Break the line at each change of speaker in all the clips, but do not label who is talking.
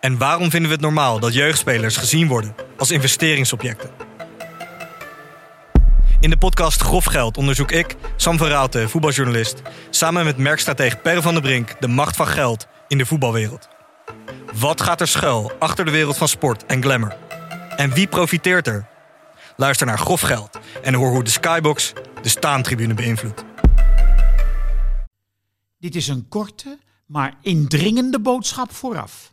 En waarom vinden we het normaal dat jeugdspelers gezien worden als investeringsobjecten? In de podcast Grof Geld onderzoek ik, Sam van Raalte, voetbaljournalist, samen met merkstratege Per van der Brink de macht van geld in de voetbalwereld. Wat gaat er schuil achter de wereld van sport en glamour? En wie profiteert er? Luister naar Grof Geld en hoor hoe de Skybox de staantribune beïnvloedt.
Dit is een korte, maar indringende boodschap vooraf.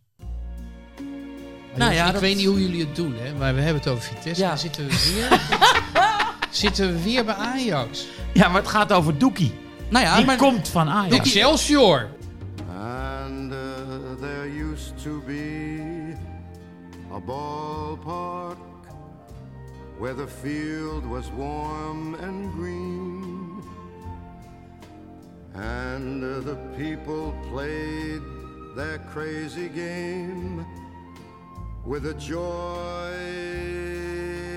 Nou
Nou
ja,
ja,
ik
dat-
weet niet hoe jullie het doen, hè, maar we hebben het over Vitesse.
Ja.
Dan zitten we weer, zitten we weer bij Ajax.
Ja, maar het gaat over Doekie.
Nou ja,
Die
maar
komt van Ajax.
Excelsior!
And uh, there used to be a ballpark where the field was warm and green. And uh, the people played their crazy game with a joy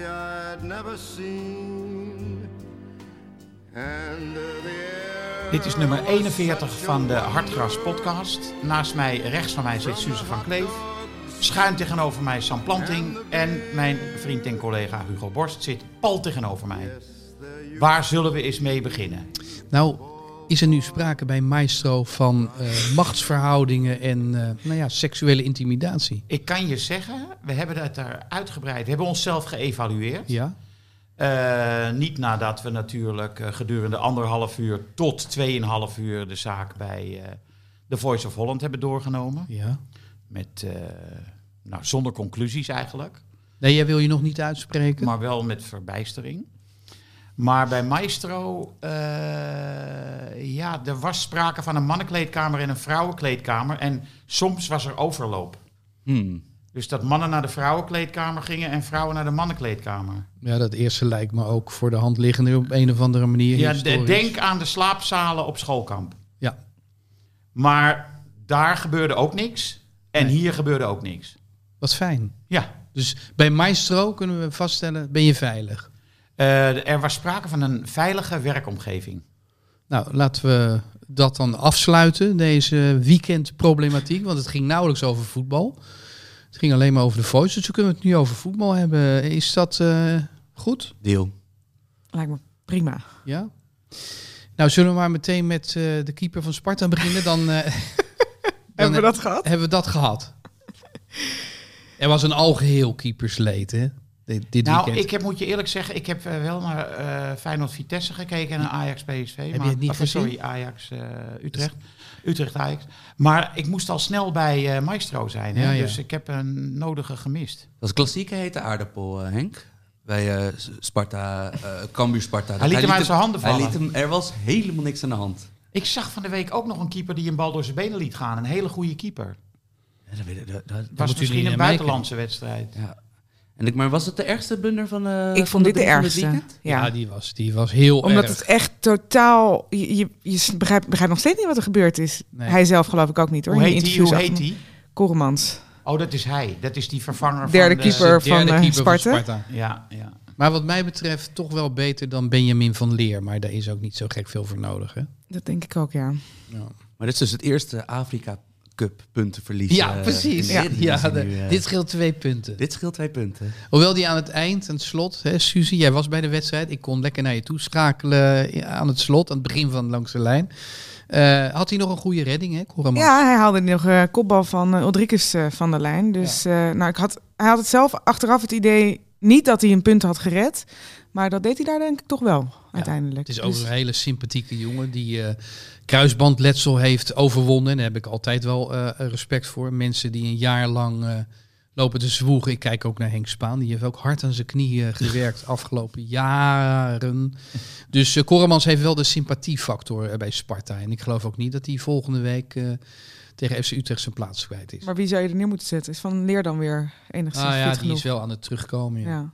I'd never seen. And uh, the air
Dit is nummer
was
41
such a
van de Hartgras podcast. Naast mij, rechts van mij, zit Suze van Kleef. Schuin tegenover mij Sam Planting. En mijn vriend en collega Hugo Borst zit pal tegenover mij. Waar zullen we eens mee beginnen?
Nou, is er nu sprake bij Maestro van eh, machtsverhoudingen en eh, nou ja, seksuele intimidatie?
Ik kan je zeggen, we hebben het daar uitgebreid. We hebben onszelf geëvalueerd.
Ja?
Eh, niet nadat we natuurlijk eh, gedurende anderhalf uur tot tweeënhalf uur de zaak bij eh, The Voice of Holland hebben doorgenomen.
Ja.
Met, eh, nou, zonder conclusies eigenlijk.
Nee, jij wil je nog niet uitspreken?
maar wel met verbijstering. Maar bij Maestro, eh, ja, er was sprake van een mannenkleedkamer en een vrouwenkleedkamer. En soms was er overloop. Dus dat mannen naar de vrouwenkleedkamer gingen en vrouwen naar de mannenkleedkamer.
Ja, dat eerste lijkt me ook voor de hand liggende op een of andere manier.
Ja, de-
historisch.
denk aan de slaapzalen op schoolkamp.
Ja.
Maar daar gebeurde ook niks. En hier gebeurde ook niks.
Wat fijn.
Ja,
Dus bij Maestro kunnen we vaststellen, ben je veilig?
eh, er was sprake van een veilige werkomgeving.
Nou, laten we dat dan afsluiten, deze weekendproblematiek. Want het ging nauwelijks over voetbal. Het ging alleen maar over de voice. Dus we kunnen we het nu over voetbal hebben. Is dat eh, goed?
Deal.
Lijkt me prima.
Ja. Nou, zullen we maar meteen met eh, de keeper van Sparta beginnen? Dan, eh, dan
Hebben we dat gehad?
hebben we dat gehad. Er was een algeheel keepersleed, hè? Dit, dit
Nou,
weekend.
ik heb, moet je eerlijk zeggen, ik heb eh, wel naar eh Feyenoord-Vitesse gekeken en naar Ajax-PSV.
je het niet
eh,
gezien?
Sorry, eh, Ajax-Utrecht. Utrecht-Ajax. Maar ik moest al snel bij eh, Maestro zijn, hè?
Ja, ja.
dus ik heb een nodige gemist.
Dat is klassieke hete aardappel, eh, Henk. Bij eh, S- Sparta, eh Cambuur Sparta.
Hij liet hem uit zijn handen
hij
vallen.
liet hem, er was helemaal niks aan de hand.
Ik zag van de week ook nog een keeper die een bal door zijn benen liet gaan. Een hele goede keeper.
Ja, dat weet ik, dat- dat-
Het
moeten
was misschien
jullie
een
naar mij
buitenlandse wedstrijd.
ja. En ik, maar was het de ergste blunder van eh,
ik
van
vond dit de
van
ergste.
weekend?
ja.
ja.
die was, die was heel
Omdat
erg.
het echt totaal... Je, je, je s- begrijpt, begrijpt nog steeds niet wat er gebeurd is.
Nee.
Hij zelf geloof ik ook niet hoor.
Hoe
In
heet die?
interviews
Hoe
achter
heet
me.
die?
Koeremans.
Oh, dat is hij. Dat is die vervanger
Derde
van de-
keeper.
De derde
van, eh,
keeper van
Sparta.
Sparta.
Ja, ja.
Maar wat mij betreft toch wel beter dan Benjamin van Leer. Maar daar is ook niet zo gek veel voor nodig, hè?
Dat denk ik ook, ja.
Maar dit is dus het eerste Afrika Cup puntenverlies. eh, in de
Ja,
Eredivisie
ja, de-
nu, eh.
dit scheelt twee punten.
dit scheelt twee punten.
Hoewel die aan het eind, aan het slot, hè, Suzy, jij was bij de wedstrijd. Ik kon lekker naar je toe schakelen eh, aan het slot, aan het begin van langs de lijn. Eh, had hij nog een goede redding, hè, Koraman?
Ja, hij haalde nog eh kopbal van eh Ulrikus eh, van de lijn. Dus eh, nou, ik had, hij had het zelf achteraf het idee Niet dat hij een punt had gered, maar dat deed hij daar denk ik toch wel uiteindelijk.
Het is
Dus-
overigens een hele sympathieke jongen die eh, kruisbandletsel heeft overwonnen. En daar heb ik altijd wel eh, respect voor. Mensen die een jaar lang eh, lopen te zwoegen. Ik kijk ook naar Henk Spaan. Die heeft ook hard aan zijn knieën gewerkt afgelopen jaren. Dus eh Koremans heeft wel de sympathiefactor eh, bij Sparta. En ik geloof ook niet dat hij volgende week eh, tegen FC Utrecht zijn plaats kwijt is.
Maar wie zou je er neer moeten zetten? Is Van Leer dan weer enigszins
Ah ja,
fit
die
genoeg?
is wel aan het terugkomen. ja.
ja.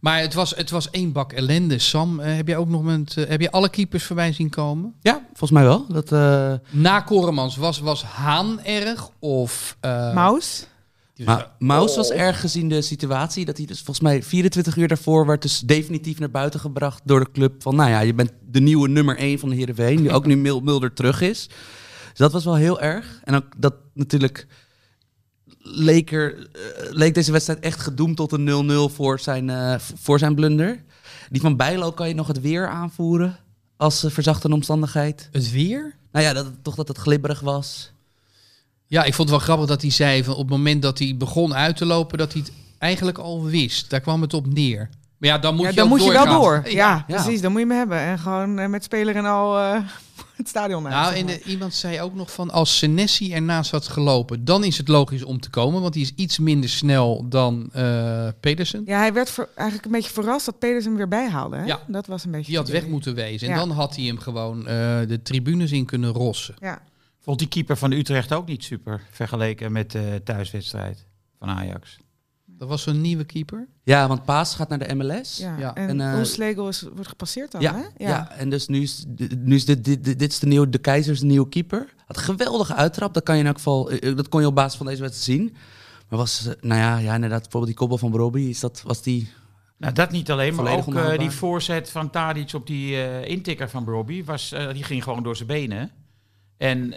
Maar het was, het was één bak ellende. Sam, eh, heb jij ook nog met, eh, heb je alle keepers voorbij zien komen?
Ja, volgens mij wel. Dat, eh,
Na Koremans was, was Haan erg of... eh,
Maus?
die was-
Maar Maus was erg gezien de situatie dat hij dus volgens mij 24 uur daarvoor werd dus definitief naar buiten gebracht door de club. Van nou ja, je bent de nieuwe nummer 1 van de Heerenveen, nu ook nu Mil- Mulder terug is. Dus dat was wel heel erg. En ook dat natuurlijk leek, er, eh, leek deze wedstrijd echt gedoemd tot een 0-0 voor zijn, eh, v- voor zijn blunder. Die van Bijlo kan je nog het weer aanvoeren als eh, verzachte omstandigheid.
Het weer?
Nou ja, dat, het- toch dat het glibberig was.
Ja, ik vond het wel grappig dat hij zei van op het moment dat hij begon uit te lopen, dat hij het eigenlijk al wist. Daar kwam het op neer. Maar ja, dan moet,
ja,
je,
dan
ook
moet je wel
doorgaan. Eh,
door. Ja,
ja.
precies. Dan moet je me hebben. En gewoon eh, met speler en al eh, het stadion uit.
Nou,
zeg
en
maar.
eh, iemand zei ook nog van als Senesi ernaast had gelopen, dan is het logisch om te komen, want die is iets minder snel dan eh, Pedersen.
Ja, hij werd ver- eigenlijk een beetje verrast dat Pedersen hem weer bijhaalde. Hè?
Ja.
Dat was een beetje...
Die had
de
weg
idee.
moeten wezen. En
Ja.
dan had hij hem gewoon eh, de tribunes in kunnen rossen.
Ja.
Vond die keeper van Utrecht ook niet super vergeleken met de thuiswedstrijd van Ajax?
Dat was zo'n nieuwe keeper.
Ja, want Paas gaat naar de MLS.
Ja.
Ja.
En,
En, eh,
Oelslegel is wordt gepasseerd dan,
Ja,
hè?
ja. en dus nu is, nu is dit, dit, dit, dit is de, nieuwe, de keizers de nieuwe keeper. Had een geweldige uittrap, dat, kan je in elk geval, eh, dat kon je op basis van deze wedstrijd zien. Maar was, eh, nou ja, ja inderdaad, bijvoorbeeld die kopbal van Robbie, is dat, was die...
Nou, dat niet alleen, maar
Volledig
ook eh,
onhoudbaar.
die voorzet van Tadic op die eh, intikker van Robbie, was, eh, die ging gewoon door zijn benen. En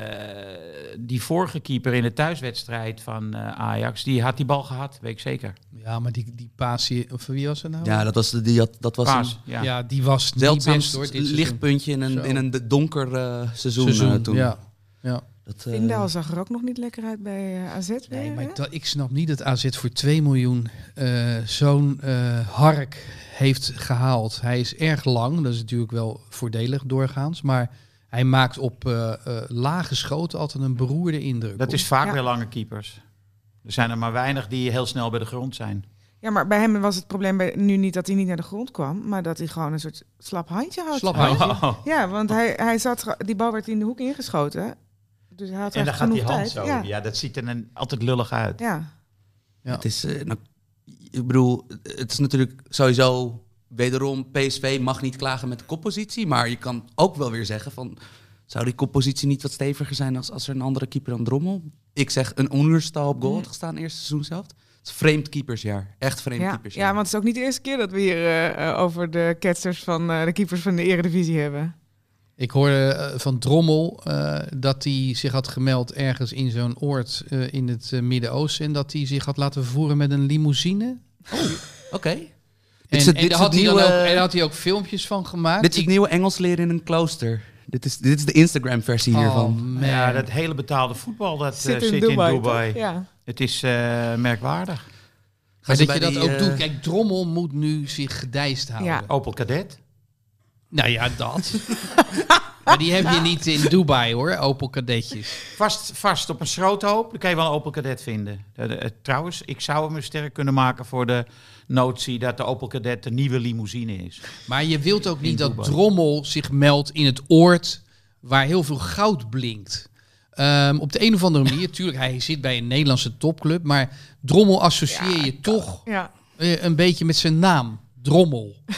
eh, die vorige keeper in de thuiswedstrijd van eh, Ajax, die had die bal gehad, weet ik zeker.
Ja, maar die, die passie, of wie was het nou?
Ja, dat was, de- die had, dat was
Paas,
een
ja.
Ja, die was niet
zeldzaam
best hoor. Dit seizoen.
lichtpuntje in
Zo.
een, in een d- donker eh, seizoen, eh,
Seizoen,
toen.
Ja. ja.
Dat, eh,
Vindal zag er ook nog niet lekker uit bij eh, AZ weer,
Nee,
hè?
maar dat, ik snap niet dat AZ voor 2 miljoen eh, zo'n eh, hark heeft gehaald. Hij is erg lang, dat is natuurlijk wel voordelig doorgaans. Maar hij maakt op eh, eh, lage schoten altijd een beroerde indruk.
Dat
op.
is vaak
Ja.
weer lange keepers. Er zijn er maar weinig die heel snel bij de grond zijn.
Ja, maar bij hem was het probleem bij, nu niet dat hij niet naar de grond kwam, maar dat hij gewoon een soort slap handje had.
Slap handje.
Oh,
Oh.
Ja, want hij, hij zat, ge- die bal werd in de hoek ingeschoten. Dus hij had
En dan
echt
gaat
genoeg
die hand
tijd.
zo.
Ja.
Ja. dat ziet er dan altijd lullig uit.
Ja.
Het is, eh, nou, ik bedoel, het is natuurlijk sowieso wederom PSV mag niet klagen met de koppositie, maar je kan ook wel weer zeggen van zou die koppositie niet wat steviger zijn als, als er een andere keeper dan Drommel? Ik zeg een onuurstal op goal had gestaan eerste seizoen zelf. Het is vreemd keepersjaar, echt vreemd
Ja.
keepersjaar.
ja, want het is ook niet de eerste keer dat we hier eh, eh, over de ketsers van eh, de keepers van de Eredivisie hebben.
Ik hoorde eh, van Drommel eh, dat hij zich had gemeld ergens in zo'n oord eh, in het eh, Midden-Oosten. En dat hij zich had laten vervoeren met een limousine.
Oké. Dit is
En,
het-
en,
dit
daar
is
had
het
hij dan
nieuwe- eh,
ook- en daar had hij ook filmpjes van gemaakt.
Dit is het
Ik-
nieuwe Engels leren in een klooster. Dit is, dit is de Instagram-versie hiervan.
Oh, man.
Ja, dat hele betaalde voetbal dat eh, zit, in, Dubai.
toch? Ja.
Het is eh, merkwaardig.
Gaan
Maar
ze
dat je dat
bij die,
ook
eh,
doet. Kijk, Drommel moet nu zich gedijst houden.
Ja.
Opel Cadet.
Nou ja, dat. maar die heb je niet in Dubai hoor, Opel kadetjes.
Vast, vast op een schroothoop, dan kan je wel een Opel Cadet vinden. Eh, eh, trouwens, ik zou hem een sterk kunnen maken voor de notie dat de Opel Cadet de nieuwe limousine is.
Maar je wilt ook niet dat
Dubai.
Drommel zich meldt in het oord waar heel veel goud blinkt. Ehm, op de een of andere manier, tuurlijk, hij zit bij een Nederlandse topclub, maar Drommel associeer je toch
ja.
eh, een beetje met zijn naam. Drommel.
Ja,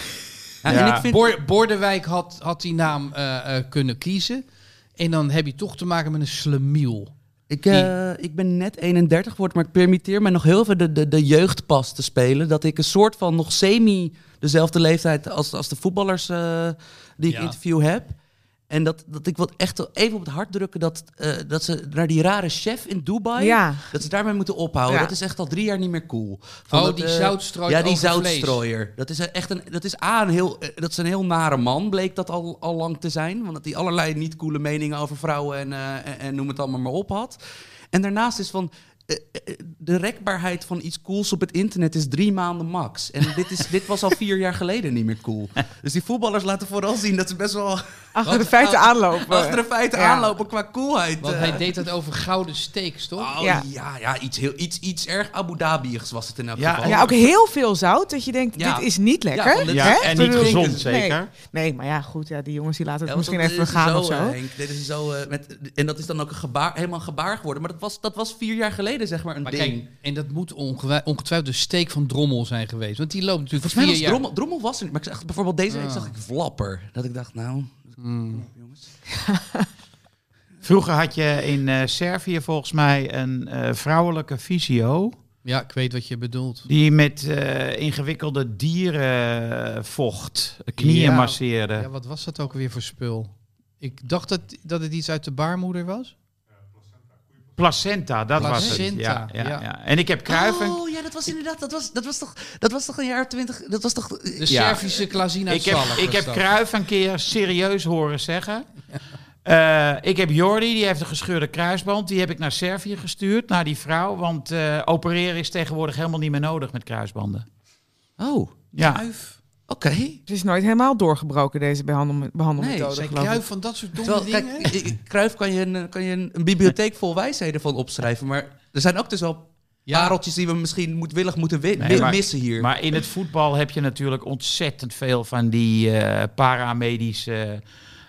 Ja.
En ik vind,
Bor- Bordewijk had, had die naam eh, eh, kunnen kiezen. En dan heb je toch te maken met een slemiel.
Ik, eh, ik ben net 31 geworden, maar ik permitteer mij nog heel even de, de, de jeugdpas te spelen. Dat ik een soort van nog semi dezelfde leeftijd als, als de voetballers eh, die ik
Ja.
interview heb. En dat, dat ik wil echt wel even op het hart drukken dat, eh, dat ze naar die rare chef in Dubai,
Ja.
dat ze daarmee moeten ophouden.
Ja.
Dat is echt al drie jaar niet meer cool.
Oh,
dat,
die
eh,
zoutstrooier
Ja, die
over vlees.
zoutstrooier. Dat is echt een, dat is A, een heel, eh, dat is een heel nare man, bleek dat al, al lang te zijn. Want dat hij allerlei niet coole meningen over vrouwen en, eh, en, en noem het allemaal maar op had. En daarnaast is van, eh, eh, de rekbaarheid van iets cools op het internet is drie maanden max. En dit, is, dit was al vier jaar geleden niet meer cool. Dus die voetballers laten vooral zien dat ze best wel
Achter de feiten aanlopen.
achter de feiten
eh, Ja.
aanlopen qua coolheid.
Want
eh.
hij deed dat over gouden steaks, toch?
Oh,
Ja.
ja, ja, iets, heel, iets, iets erg Abu Dhabiigs was het in elk
Ja,
geval.
Ja, ook heel veel zout. Dat je denkt,
Ja.
dit is niet
Ja,
lekker.
want dit-
Ja,
Hè?
en
Ik
niet
bedoel,
gezond,
nee.
zeker.
Nee, maar ja, goed. Ja, die jongens die laten het
Ja, want
misschien
dat
even
is
gaan
zo,
of zo.
eh, Henk, dit is zo, eh, met, en dat is dan ook een gebaar, helemaal een gebaar geworden. Maar dat was, dat was vier jaar geleden, zeg maar, een
Maar
ding.
kijk, en dat moet ongewi- ongetwijfeld de steek van Drommel zijn geweest. Want die loopt natuurlijk
Volgens mij
vier
was
jaar...
drommel, drommel was er niet. Maar ik zag bijvoorbeeld deze week
Ah.
zag ik Flapper. Dat ik dacht, nou...
Vroeger had je in eh, Servië volgens mij een eh, vrouwelijke fysio.
Ja, ik weet wat je bedoelt.
Die met eh, ingewikkelde dierenvocht eh, knieën
Ja.
eh,
masseerde.
Ja, wat was dat ook weer voor spul? Ik dacht dat, dat het iets uit de baarmoeder was.
Placenta, dat was
Placenta,
het. Ja, ja,
ja.
ja. En ik heb Kruiven.
Oh ja, dat was inderdaad... Dat was, dat was, toch, dat was toch een jaar twintig... Dat was toch... eh,
De
Ja.
Servische Klazina
ik heb, ik heb Kruif een keer serieus horen zeggen. Eh, ik heb Jordi, die heeft een gescheurde kruisband. Die heb ik naar Servië gestuurd, naar die vrouw. Want eh, opereren is tegenwoordig helemaal niet meer nodig met kruisbanden.
Oh,
Ja,
Kruif.
oké.
Het is nooit helemaal doorgebroken, deze behandel- behandelmethode,
Nee,
Zijn
geloof ik.
Kruif van dat soort domme
Terwijl, kijk,
dingen?
ik- ik- Cruijff kan je, een, eh, kan je een, een bibliotheek vol wijsheden van opschrijven. Maar er zijn ook dus wel
Ja.
pareltjes die we misschien moedwillig moeten win-
Nee, maar-
missen hier.
maar in het voetbal heb je natuurlijk ontzettend veel van die eh, paramedische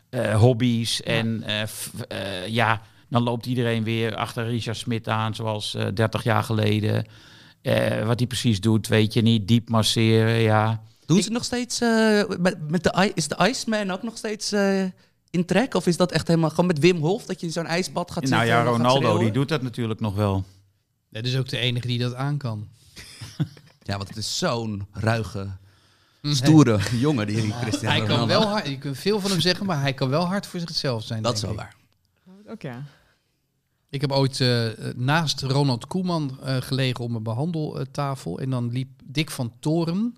eh, hobby's. En eh, f- eh, ja, dan loopt iedereen weer achter Richard Smit aan, zoals eh 30 jaar geleden. Eh, wat hij precies doet, weet je niet. Diep masseren, ja.
Doen ze nog steeds... eh, met, met de, i- is de Iceman ook nog steeds eh, in trek? Of is dat echt helemaal gewoon met Wim Hof... dat je in zo'n ijsbad gaat
Nou
zitten
ja,
en dan gaat
Ronaldo
schreeuwen?
die doet dat natuurlijk nog wel.
Dat is ook de enige die dat aan kan.
Ja, want het is zo'n ruige, stoere jongen, die Cristiano
Mm-hmm. Hij kan
Ronaldo.
wel hard, je kunt veel van hem zeggen, maar hij kan wel hard voor zichzelf zijn.
Dat is wel
denk ik.
waar.
Ook ja.
Ik heb ooit eh, naast Ronald Koeman eh, gelegen op mijn behandeltafel. En dan liep Dick van Toren.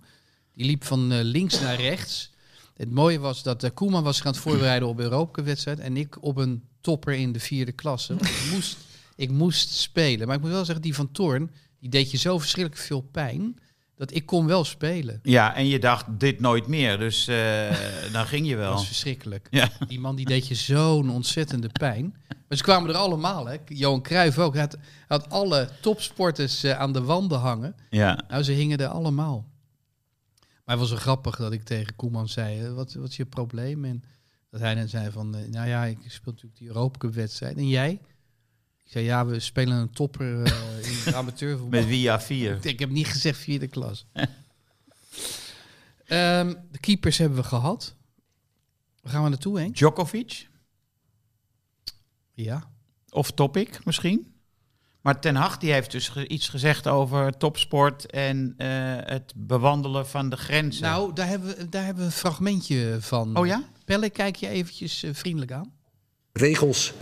Die liep van eh, links naar rechts. Het mooie was dat eh, Koeman was gaan voorbereiden op een Europawedstrijd. En ik op een topper in de vierde klasse. Want ik, moest, ik moest spelen. Maar ik moet wel zeggen, die van Toorn, die deed je zo verschrikkelijk veel pijn. Dat ik kon wel spelen.
Ja, en je dacht dit nooit meer, dus eh, dan ging je
Dat
wel.
was verschrikkelijk.
Ja.
Die man die deed je zo'n ontzettende pijn. Maar ze kwamen er allemaal, hè. Johan Cruijff ook. Hij had, hij had alle topsporters eh, aan de wanden hangen.
Ja.
Nou, ze hingen er allemaal. Maar het was zo grappig dat ik tegen Koeman zei, eh, wat, wat is je probleem? En dat hij dan zei van, eh, nou ja, ik speel natuurlijk die Europa Cup wedstrijd. En jij? Ik zei, ja, we spelen een topper eh, in het amateurvoetbal.
Met Via 4.
Ik, ik heb niet gezegd vierde klas. Ehm, de keepers hebben we gehad. Waar gaan we naartoe, Henk?
Djokovic,
Ja.
of Topic misschien. Maar Ten Hag die heeft dus ge- iets gezegd over topsport en eh, het bewandelen van de grenzen.
Nou, daar hebben, we, daar hebben we een fragmentje van.
oh ja?
Pelle, kijk je eventjes eh, vriendelijk aan.
regels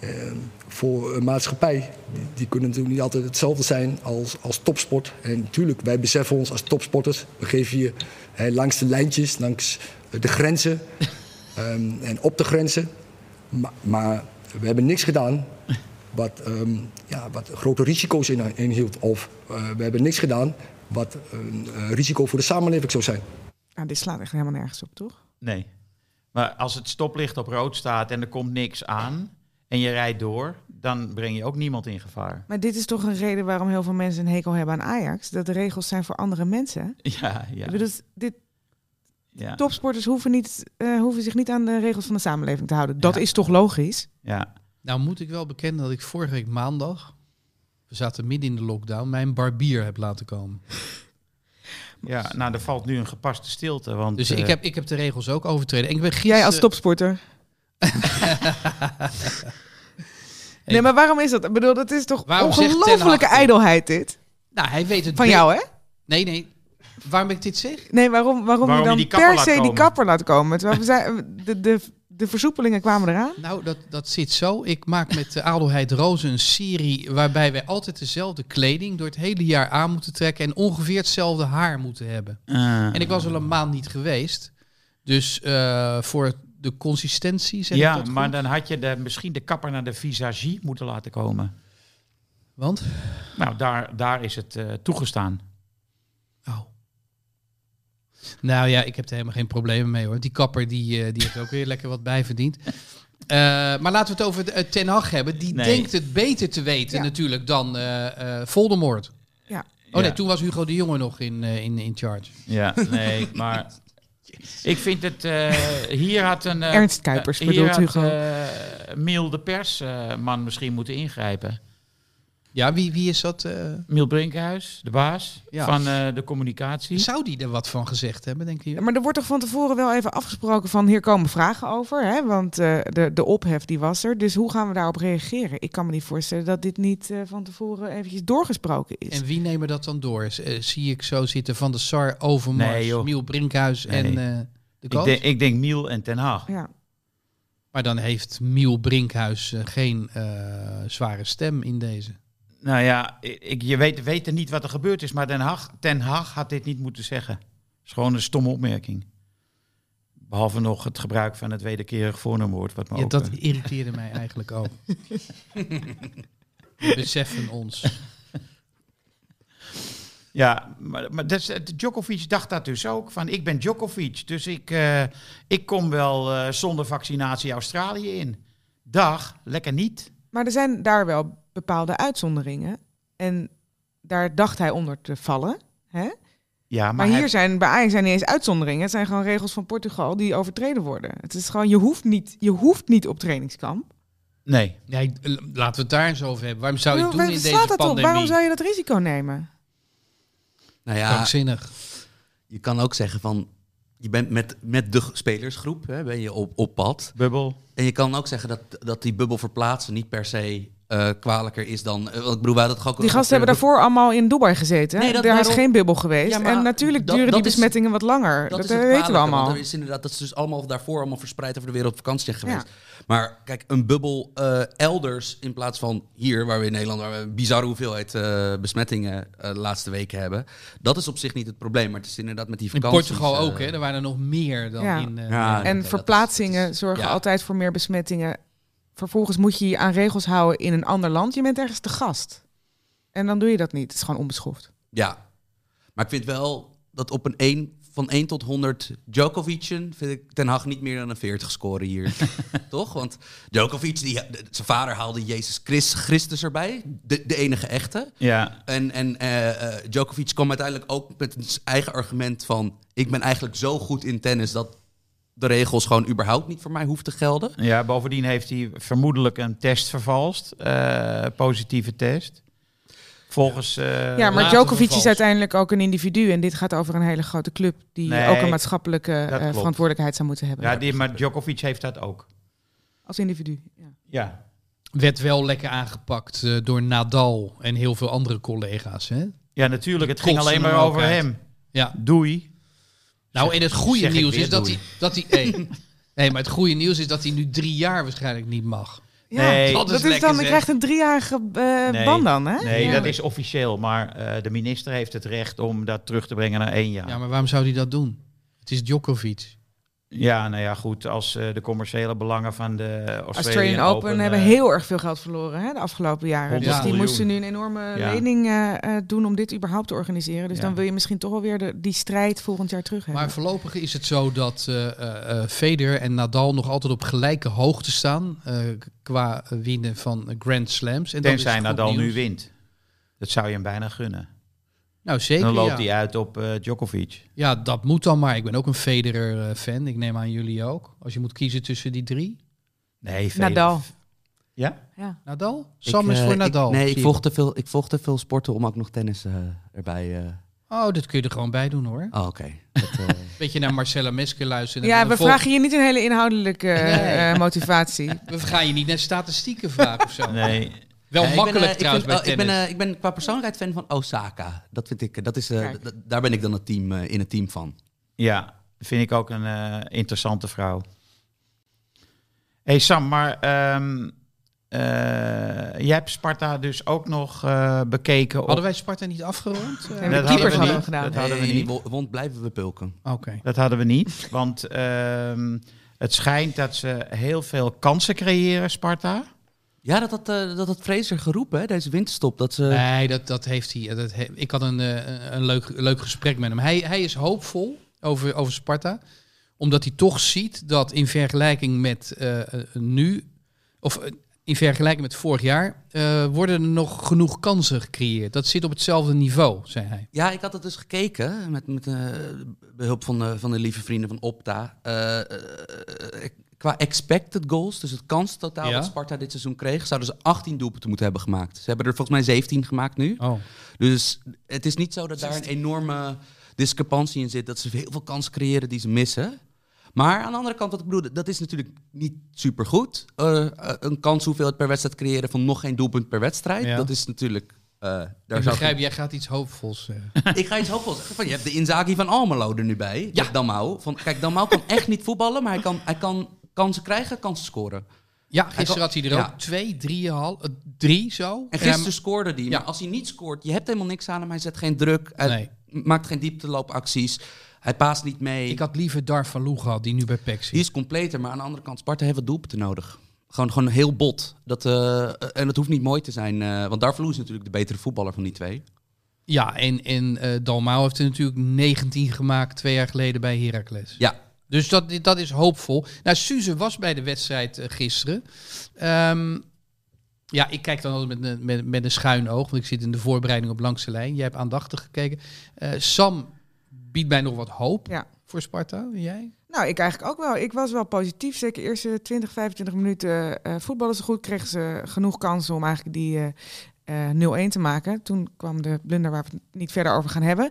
eh, voor een maatschappij, die, die kunnen natuurlijk niet altijd hetzelfde zijn als, als topsport. En natuurlijk, wij beseffen ons als topsporters, we geven je hè, langs de lijntjes, langs de grenzen ehm, en op de grenzen. Maar, maar we hebben niks gedaan wat, ehm, ja, wat grote risico's in- inhield. Of eh, we hebben niks gedaan wat een eh, risico voor de samenleving zou zijn.
Nou, dit slaat echt helemaal nergens op, toch?
Nee. Maar als het stoplicht op rood staat en er komt niks aan en je rijdt door, dan breng je ook niemand in gevaar.
Maar dit is toch een reden waarom heel veel mensen een hekel hebben aan Ajax. Dat de regels zijn voor andere mensen.
Ja, ja.
Ik bedoel, dit,
ja.
topsporters hoeven, niet, eh, hoeven zich niet aan de regels van de samenleving te houden. Dat
Ja.
is toch logisch?
ja.
Nou moet ik wel bekennen dat ik vorige week maandag, we zaten midden in de lockdown, mijn barbier heb laten komen.
ja. Nou, er valt nu een gepaste stilte. Want,
Dus
eh,
ik, heb, ik heb de regels ook overtreden. En ik ben gisteren...
Jij als topsporter. Nee, maar waarom is dat? Ik bedoel, dat is toch
Waarom zegt Ten Hag
ongelofelijke
dit?
ijdelheid dit?
Nou, hij weet het
Van
be-
jou, hè?
Nee, nee. Waarom ik dit zeg?
Nee, waarom, waarom,
Waarom
je
je
dan
die kapper
per
laat
se die
komen?
kapper laat komen? Terwijl we zei, de, de, de versoepelingen kwamen eraan.
Nou, dat, dat zit zo. Ik maak met de Adelheid Rozen een serie waarbij wij altijd dezelfde kleding door het hele jaar aan moeten trekken en ongeveer hetzelfde haar moeten hebben.
eh,
En ik was al een maand niet geweest. Dus eh, voor de consistentie zeg ik
ja,
dat
maar
goed?
dan had je de, misschien de kapper naar de visagie moeten laten komen.
Want?
Nou, daar, daar is het eh, toegestaan.
Oh. Nou ja, ik heb er helemaal geen problemen mee hoor. Die kapper die, eh, die heeft ook weer lekker wat bijverdiend. Eh, maar laten we het over eh, Ten Hag hebben. Die
Nee.
denkt het beter te weten
Ja.
natuurlijk dan eh eh Voldemort.
Ja.
Oh
Ja.
nee, toen was Hugo de Jonge nog in, eh, in, in charge.
Ja, nee, maar ik vind het... eh, hier had een... eh,
Ernst Kuipers
eh,
bedoelt
Hier
Hugo.
had eh, Miel de persman misschien moeten ingrijpen.
Ja, wie, wie is dat? eh?
Miel Brinkhuis, de baas
Ja.
van eh, de communicatie.
zou die er wat van gezegd hebben, denk je?
Maar er wordt toch van tevoren wel even afgesproken van hier komen vragen over. Hè? Want eh, de, de ophef die was er. Dus hoe gaan we daarop reageren? Ik kan me niet voorstellen dat dit niet eh, van tevoren eventjes doorgesproken is.
En wie nemen dat dan door? S- eh, zie ik zo zitten Van de Sar, Overmars,
Nee, joh.
Miel Brinkhuis en
Nee.
eh, de
Ik
coach.
denk, ik denk Miel en Ten Haag.
Ja.
Maar dan heeft Miel Brinkhuis eh, geen eh, zware stem in deze.
Nou ja, ik, je weet, weet niet wat er gebeurd is, maar Den Haag, Ten Haag had dit niet moeten zeggen. Het is gewoon een stomme opmerking. Behalve nog het gebruik van het wederkerig voornaamwoord. Wat me
Ja,
ook,
dat
eh,
irriteerde mij eigenlijk ook. We Beseffen ons.
ja maar, maar dat, is- het- Djokovic dacht dat dus ook. Van ik ben Djokovic, dus ik, eh, ik kom wel eh, zonder vaccinatie Australië in. Dag, lekker niet.
Maar er zijn daar wel bepaalde uitzonderingen. En daar dacht hij onder te vallen. Hè? Maar,
Ja, maar,
hier
hij-
zijn bij Ajax zijn niet eens uitzonderingen. Het zijn gewoon regels van Portugal die overtreden worden. Het is gewoon, je hoeft niet, je hoeft niet op trainingskamp.
Nee,
Nee, l- eh, laten we het daar eens over hebben. Waarom zou je het doen
Waar
in
slaat
deze
dat op?
pandemie?
Waarom zou je dat risico nemen?
Nou ja,
Krankzinnig.
je kan ook zeggen van... Je bent met, met de g- spelersgroep hè, ben je op, op pad.
bubbel.
En je kan ook zeggen dat, dat die bubbel verplaatsen niet per se eh, kwalijker is dan... eh, want ik bedoel, wij hadden het ook...
Die gasten hebben daarvoor allemaal in Dubai gezeten.
Nee, dat
Daar is
daarom-
geen bubbel geweest.
Ja, maar
en natuurlijk
dat-
duren
dat
die
is-
besmettingen wat langer. Dat, eh,
Dat, is het
weten we
kwalijke, want
allemaal.
er is inderdaad, dat is dus allemaal daarvoor allemaal verspreid over de wereld op vakantie zijn geweest. Maar kijk, een bubbel eh, elders in plaats van hier, waar we in Nederland waar we een bizarre hoeveelheid eh, besmettingen eh, de laatste weken hebben. Dat is op zich niet het probleem, maar het is inderdaad met die
In
vakanties.
Portugal
eh,
ook, hè? Er waren er nog meer dan
Ja.
in... eh,
Ja,
Nederland.
dat
En
is-
verplaatsingen zorgen
ja.
altijd voor meer besmettingen. Vervolgens moet je je aan regels houden in een ander land. Je bent ergens te gast. En dan doe je dat niet. Het is gewoon onbeschoft.
Ja. Maar ik vind wel dat op een 1, van 1 tot 100 Djokovicen vind ik Ten Hag niet meer dan een 40 scoren hier. Toch? Want Djokovic, die, zijn vader haalde Jezus Christ- Christus erbij. De, de enige echte.
Ja,
En, en eh, eh, Djokovic kwam uiteindelijk ook met zijn eigen argument van... ik ben eigenlijk zo goed in tennis dat de regels gewoon überhaupt niet voor mij hoeven te gelden.
ja, bovendien heeft hij vermoedelijk een test vervalst. eh, positieve test. Volgens... eh,
ja, maar
laten we
Djokovic is
vals.
uiteindelijk ook een individu. En dit gaat over een hele grote club die
Nee,
ook een maatschappelijke eh,
klopt.
verantwoordelijkheid zou moeten hebben.
Ja, die, maar Djokovic heeft dat ook.
Als individu. Ja.
Ja.
Werd wel lekker aangepakt eh, door Nadal en heel veel andere collega's, hè?
Ja, natuurlijk. Het
Die
ging alleen
kotsen
maar
hem
over
ook uit.
hem.
Ja.
Doei.
Nou, en het goede
zeg ik
nieuws
weer
is dat
doei.
hij... Dat hij hey, nee, maar het goede nieuws is dat hij nu drie jaar waarschijnlijk niet mag.
Ja,
Nee.
dat,
Dat is
is
lekker,
dan, je
zeg.
krijgt een driejarige eh,
Nee.
ban dan, hè?
Nee,
Ja.
dat is officieel. Maar eh, de minister heeft het recht om dat terug te brengen naar één jaar.
Ja,
Ja,
maar waarom zou hij dat doen? Het is Djokovic.
nou ja, goed. Als eh, de commerciële belangen van de Australian,
Australian Open, hebben
eh,
heel erg veel geld verloren hè, de afgelopen jaren. Dus
100
die
miljoen.
moesten nu een enorme
Ja.
lening eh, eh, doen om dit überhaupt te organiseren. Dus
Ja.
dan wil je misschien toch wel weer de, die strijd volgend jaar terug hebben.
Maar voorlopig is het zo dat eh eh, eh, Federer en Nadal nog altijd op gelijke hoogte staan eh, qua winnen van eh, Grand Slams. En dat is
Tenzij
goed
Nadal nu
nieuws.
wint. Dat zou je hem bijna gunnen.
Nou, zeker.
Dan loopt
ja.
hij uit op eh, Djokovic.
ja, dat moet dan maar. Ik ben ook een Federer-fan. Ik neem aan jullie ook. Als je moet kiezen tussen die drie.
Nee, Federer.
Nadal.
Ja?
Ja.
Nadal? Sam
Ik,
is
eh,
voor
ik-
Nadal.
nee,
zie
ik volg, te veel, ik volg te veel sporten om ook nog tennis eh, erbij... eh.
Oh, dat kun je er gewoon bij doen hoor.
Oh, oké. Dat, eh,
Beetje naar Marcella Mesker luisteren.
Ja,
En
we
volg-
vragen je niet een hele inhoudelijke eh, eh, motivatie.
We gaan je niet naar statistieken vragen of zo.
Nee.
Wel
Ja, ik ben,
makkelijk
eh, ik
trouwens
vind-
bij
oh, ik
tennis.
ben, eh, ik ben qua persoonlijkheid fan van Osaka. Dat vind ik, eh, dat is, eh,
Kijk.
d- daar ben ik dan het team, eh, in het team van.
Ja, vind ik ook een eh, interessante vrouw. hey Sam, maar ehm, eh, jij hebt Sparta dus ook nog eh, bekeken. Op...
Hadden wij Sparta niet afgerond?
Dat
Eh,
Nee, de
hadden
keepers
we
hadden we
niet.
gedaan.
Dat hadden we
Eh, in
niet.
die wo- wond blijven we pulken.
Oké.
Dat hadden we niet, want ehm, het schijnt dat ze heel veel kansen creëren, Sparta.
Ja, dat had, eh, dat had Fraser geroepen, hè, deze winterstop. Dat ze...
Nee, dat, dat heeft hij. Dat he- ik had een, eh, een leuk, leuk gesprek met hem. Hij, hij is hoopvol over, over Sparta. Omdat hij toch ziet dat in vergelijking met eh, eh, nu, of eh, in vergelijking met vorig jaar, eh, worden er nog genoeg kansen gecreëerd. Dat zit op hetzelfde niveau, zei hij.
Ja, ik had het dus gekeken met, met eh, behulp van de, van de lieve vrienden van Opta. Eh, eh, eh, qua expected goals, dus het kanstotaal
Ja.
dat Sparta dit seizoen kreeg, zouden ze 18 doelpunten moeten hebben gemaakt. Ze hebben er volgens mij 17 gemaakt nu.
Oh.
Dus het is niet zo dat daar een enorme discrepantie in zit. Dat ze heel veel kansen creëren die ze missen. Maar aan de andere kant, wat ik bedoel, dat is natuurlijk niet supergoed. Eh, eh, een kans hoeveelheid per wedstrijd creëren van nog geen doelpunt per wedstrijd.
Ja.
Dat is natuurlijk... eh, daar
Ik
zou
begrijp, jij gaat iets hoopvols eh. zeggen.
ik ga iets hoopvols zeggen. Van, je hebt de Inzaghi van Almelo er nu bij. Ja. Damau. Van, kijk, Damau kan echt niet voetballen, maar hij kan, hij kan kansen krijgen, kansen scoren.
Ja, gisteren had hij er
Ja.
ook twee, drie, hal, eh, drie zo. Ehm,
En
Ja,
gisteren scoorde hij.
Ja.
Maar als hij niet scoort, je hebt helemaal niks aan hem. Hij zet geen druk. Hij
Nee.
maakt geen diepteloopacties. Hij paast niet mee.
ik had liever Dar van Loo gehad, die nu bij PEC
Die
zit.
is completer, maar aan de andere kant, Sparta heeft wat doelpunten nodig. Gewoon, gewoon heel bot. Dat, eh, en het hoeft niet mooi te zijn, eh, want Darvalu is natuurlijk de betere voetballer van die twee.
Ja, en, en eh Dalmau heeft er natuurlijk 19 gemaakt twee jaar geleden bij Heracles.
Ja,
Dus dat, dat is hoopvol. Nou, Suze was bij de wedstrijd eh, gisteren. Ehm, ja, ik kijk dan altijd met, een- met, met een schuin oog, want ik zit in de voorbereiding op langs de lijn. Jij hebt aandachtig gekeken. Eh, Sam biedt mij nog wat hoop
Ja.
voor Sparta. En Jij?
Nou, ik eigenlijk ook wel. Ik was wel positief. Zeker de eerste 20, 25 minuten eh voetballen ze goed. Kregen ze genoeg kansen om eigenlijk die eh, eh, 0-1 te maken. Toen kwam de blunder waar we het niet verder over gaan hebben.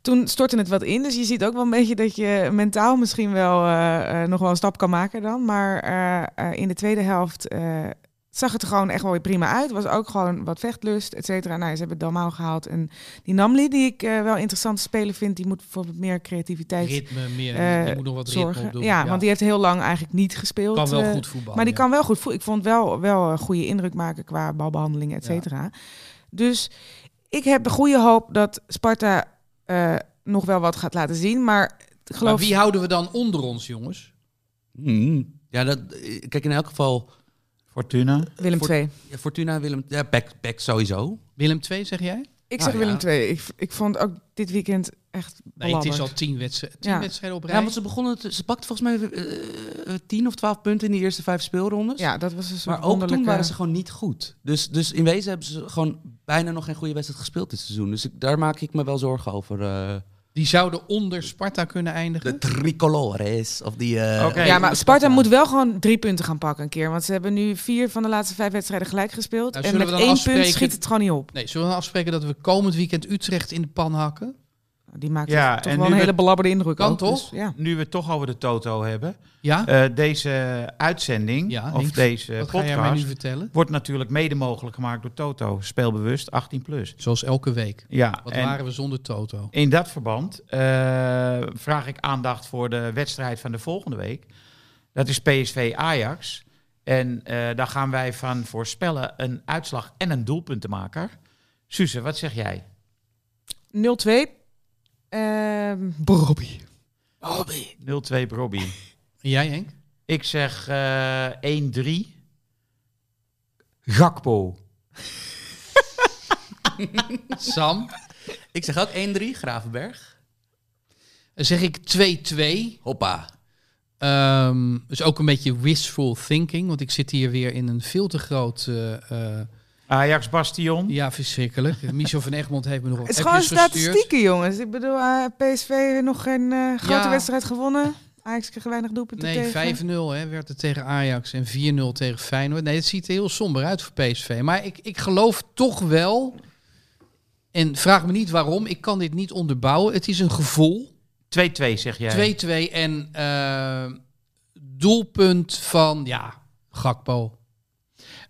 Toen stortte het wat in. Dus je ziet ook wel een beetje dat je mentaal misschien wel eh, eh, nog wel een stap kan maken dan. Maar eh, eh, in de tweede helft eh, zag het er gewoon echt wel weer prima uit. Was ook gewoon wat vechtlust, et cetera. Nou, ze hebben Dalmau gehaald. En die Namli, die ik eh, wel interessante speler vind, die moet voor wat meer creativiteit
Ritme meer.
eh,
je moet nog wat ritme
zorgen.
op doen.
Ja, want die heeft heel lang eigenlijk niet gespeeld.
kan wel
eh,
goed voetballen.
Maar die
ja.
kan wel goed voelen. Ik vond wel, wel een goede indruk maken qua balbehandeling, et
Ja.
cetera. Dus ik heb de goede hoop dat Sparta eh, nog wel wat gaat laten zien. Maar ik
Maar
geloof
wie houden we dan onder ons, jongens?
Hmm. ja dat, eh, kijk, in elk geval,
Fortuna.
Willem
voor-
II.
ja, Fortuna en Willem, ja, back, back sowieso.
Willem 2, zeg jij?
Ik
Ah,
zeg
ja.
Willem II. Ik, ik vond ook dit weekend echt
Nee, het is
belabberd.
al tien, wedstrijden tien
Ja.
wedstrijden op rij.
Ja, want ze begonnen, het- ze pakten volgens mij eh, eh, 10 of 12 punten in de eerste vijf speelrondes.
Ja, dat was een soort
Maar ook toen
wonderlijke-
waren ze gewoon niet goed. Dus, dus in wezen hebben ze gewoon bijna nog geen goede wedstrijd gespeeld dit seizoen. Dus ik, daar maak ik me wel zorgen over. eh,
Die zouden onder Sparta kunnen eindigen.
de tricolores. Of die. eh,
Oké.
Ja, maar Sparta moet wel gewoon drie punten gaan pakken een keer. Want ze hebben nu vier van de laatste vijf wedstrijden gelijk gespeeld.
Nou,
en
zullen
met
we
één
dan
punt
afspreken-
schiet het gewoon niet op.
Nee, zullen we dan afspreken dat we komend weekend Utrecht in de pan hakken?
Die maakt
Ja,
toch
en
wel
nu
een hele
werd-
belabberde indruk.
Kan
ook,
toch?
dus ja.
Nu we het toch over de Toto hebben.
Ja?
Eh, deze uitzending,
Ja,
of
Henk,
deze
Wat ga jij mij nu
podcast,
vertellen?
wordt natuurlijk mede mogelijk gemaakt door Toto. Speelbewust 18+. Plus.
Zoals elke week.
Ja,
Wat
en
waren we zonder Toto?
in dat verband eh, vraag ik aandacht voor de wedstrijd van de volgende week. Dat is PSV-Ajax. En eh, daar gaan wij van voorspellen een uitslag en een doelpuntenmaker. Suze, wat zeg jij?
0-2. Ehm Bobby.
0-2 Robbie.
En jij Henk?
Ik zeg eh 1-3. Gakpo.
Sam?
Ik zeg ook 1-3, Gravenberg.
Dan zeg ik 2-2.
Hoppa.
Ehm, dus ook een beetje wishful thinking. Want ik zit hier weer in een veel te groot... eh, eh,
Ajax Bastion.
ja, verschrikkelijk. Michel van Egmond heeft me nog wat
Het is gewoon
appjes gestuurd.
statistieken, jongens. Ik bedoel, eh, PSV nog geen eh, grote
Ja.
wedstrijd gewonnen. Ajax kreeg weinig doelpunten
Nee,
tegen.
5-0 hè, werd het tegen Ajax en 4-0 tegen Feyenoord. Nee, het ziet er heel somber uit voor PSV. Maar ik, ik geloof toch wel, en vraag me niet waarom, ik kan dit niet onderbouwen. Het is een gevoel.
2-2 zeg jij.
2-2 en eh, doelpunt van, ja, Gakpo.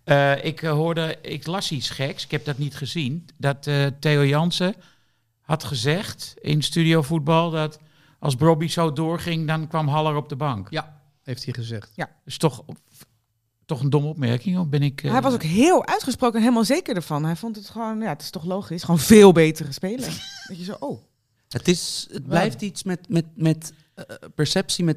Eh, ik eh, hoorde, ik las iets geks, ik heb dat niet gezien. Dat eh, Theo Jansen had gezegd in Studio Voetbal dat als Bobby zo doorging, dan kwam Haller op de bank.
Ja, heeft hij gezegd.
is toch, toch een domme opmerking, of ben ik... eh,
Hij was ook heel uitgesproken en helemaal zeker ervan. Hij vond het gewoon, ja, het is toch logisch. Gewoon veel betere spelen. dat je zo, oh.
Het, is, het blijft iets met, met, met eh, perceptie, met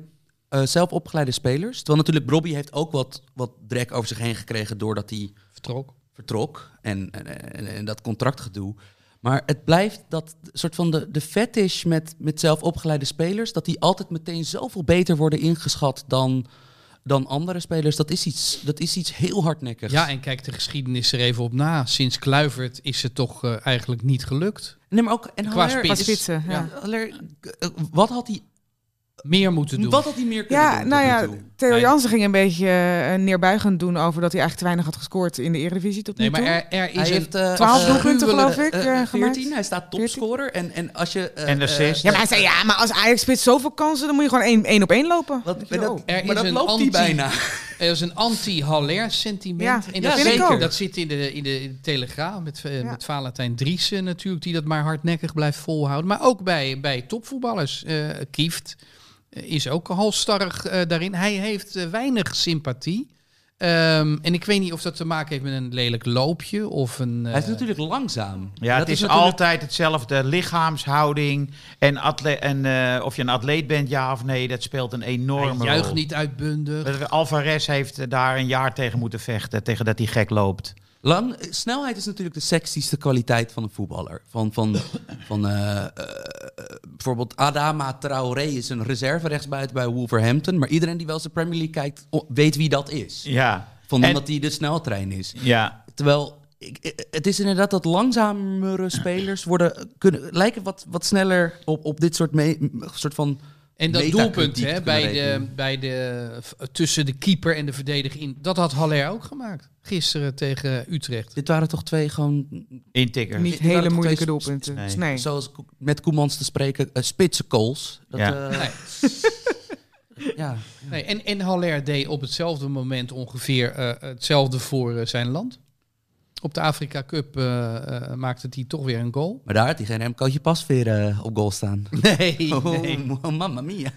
eh, zelf opgeleide spelers. Terwijl natuurlijk Robbie heeft ook wat, wat drek over zich heen gekregen doordat hij
Vertrok.
vertrok en, en, en, en dat contractgedoe. Maar het blijft dat soort van de, de fetish met, met zelf opgeleide spelers, dat die altijd meteen zoveel beter worden ingeschat dan, dan andere spelers. Dat is iets, dat is iets heel hardnekkigs.
Ja, en kijk de geschiedenis er even op na. Sinds Kluivert is het toch eh, eigenlijk niet gelukt.
nee, maar ook, en
Qua
Haller-
spits.
Qua spitsen, ja.
Haller- eh, wat had hij
Meer moeten doen.
wat had hij meer kunnen
Ja,
doen?
nou
tot
ja,
nu toe?
Theo
Nee.
Jansen ging een beetje eh, neerbuigend doen over dat hij eigenlijk te weinig had gescoord in de Eredivisie tot nu
Nee,
toe.
maar er, er is
Hij
een-
heeft eh,
12
eh,
doelpunten, geloof ik,
eh,
eh, gemaakt.
14, hij staat topscorer. En, en als je... eh,
En de
eh,
zes.
Ja, maar hij zei, ja, maar als Ajax spits zoveel kansen, dan moet je gewoon één, één op één lopen.
Wat,
Weet je
maar
wel.
dat,
Er is
maar dat
een
loopt
anti-
hij bijna.
Er is een anti-Haller sentiment.
Ja,
en
ja,
dat,
vind ik
zeker,
ook.
dat zit in de, in de, in de Telegraaf met, eh,
Ja.
met Valentijn Driessen natuurlijk, die dat maar hardnekkig blijft volhouden. Maar ook bij, bij topvoetballers. eh Kieft eh, is ook halstarrig eh, daarin. Hij heeft eh, weinig sympathie. Ehm, en ik weet niet of dat te maken heeft met een lelijk loopje of een... eh,
Hij is natuurlijk langzaam.
Ja,
Dat
het is,
natuurlijk-
altijd hetzelfde. Lichaamshouding en, atle- en eh, of je een atleet bent, ja of nee, dat speelt een
hij
enorme
juicht
rol.
niet uitbundig.
Dat- Alvarez heeft eh, daar een jaar tegen moeten vechten, tegen dat hij gek loopt.
Lang, eh, snelheid is natuurlijk de sexieste kwaliteit van een voetballer. Van, van, van eh, eh, bijvoorbeeld Adama Traoré is een reserve rechtsbuiten bij Wolverhampton. Maar iedereen die wel eens de Premier League kijkt, o- weet wie dat is.
Ja.
Van
En-
omdat hij de sneltrein is.
Ja.
Terwijl, ik, eh, het is inderdaad dat langzamere spelers worden, kunnen, lijken wat, wat sneller op, op dit soort, me- m- soort van...
En dat
metakritiek
doelpunt hè,
kunnen
bij de,
rekenen.
bij de, f- tussen de keeper en de verdediger in, dat had Haller ook gemaakt. Gisteren tegen Utrecht.
Dit waren toch twee gewoon
Intikker.
Niet
waren
hele
toch
moeilijke
twee-
doelpunten.
Nee.
Dus nee.
zoals Ko- met Koemans te spreken, eh, spitse calls. Dat,
Ja.
eh,
Nee.
ja.
Nee, en, en Haller deed op hetzelfde moment ongeveer eh, hetzelfde voor eh, zijn land. Op de Afrika Cup eh, eh, maakte hij toch weer een goal.
Maar daar had hij geen Remcootje Pasveer eh, op goal staan.
Nee,
Oh,
nee.
oh, mamma mia.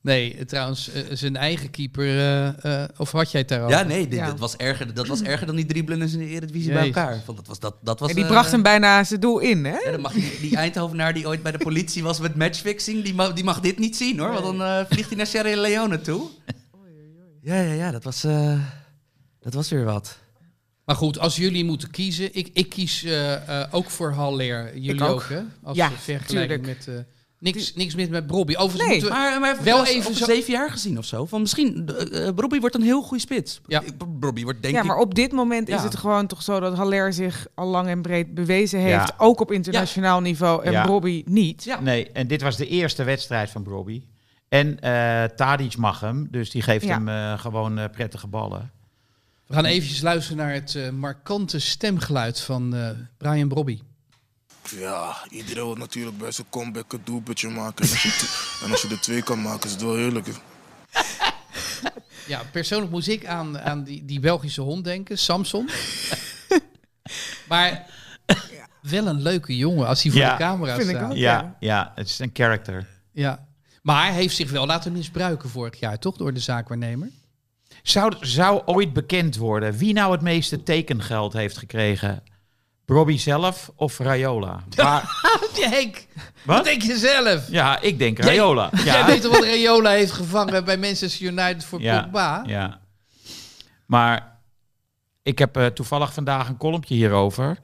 nee eh, trouwens, eh, zijn eigen keeper. eh, eh, of had jij het daarover?
Ja, nee, dit,
Ja.
dat, was erger, dat was erger dan die dribbelers in de Eredivisie bij
Jezus.
elkaar. Want dat was, dat, dat was,
En die
eh,
bracht hem bijna zijn doel in, hè?
ja, dan mag die, die Eindhovenaar die ooit bij de politie was met matchfixing, die, ma- die mag dit niet zien hoor. Want dan eh, vliegt hij naar Sierra Leone toe. Ja, ja, ja, dat was, eh, dat was weer wat.
Maar goed, als jullie moeten kiezen. Ik, ik kies eh, eh, ook voor Haller. Jullie
ook.
ook. hè? Als
Ja,
eh, vergelijking
tuurlijk.
met. eh, niks, niks mis met Bobby. Overigens
Nee,
Dus moeten we-
Maar, maar
Wel
wel
even
even
zo-
zeven jaar gezien of zo. Van misschien, eh, eh, Robbie wordt een heel goede spits.
Ja.
Ik- Robbie wordt denk
Ja,
ik
maar op dit moment is
Ja.
het gewoon toch zo dat Haller zich al lang en breed bewezen heeft.
Ja.
Ook op internationaal niveau en
Ja.
Robbie niet.
Ja.
Nee, en dit was de eerste wedstrijd van Broby. En eh Tadic mag hem, dus die geeft
Ja.
hem eh, gewoon eh, prettige ballen.
We gaan eventjes luisteren naar het eh, markante stemgeluid van eh, Brian Brobby.
Ja, iedereen wil natuurlijk bij zijn comeback een doelpuntje maken. En als, je t- en als je er twee kan maken, is het wel heerlijk.
Ja, persoonlijk moest ik aan, aan die, die Belgische hond denken, Samson. maar wel een leuke jongen als hij voor
Ja,
de camera
vind ik
staat.
ook.
Ja, ja, het is een character.
Ja. Maar hij heeft zich wel laten misbruiken vorig jaar, toch? Door de zaakwaarnemer.
Zou, zou ooit bekend worden wie nou het meeste tekengeld heeft gekregen? Broby zelf of Rayola? Maar,
Henk,
Wat?
wat denk je zelf?
ja, ik denk Rayola.
Jij
Ja,
weet toch wat Rayola heeft gevangen bij Manchester United voor
Ja,
Pogba?
ja. Maar ik heb eh, toevallig vandaag een kolompje hierover.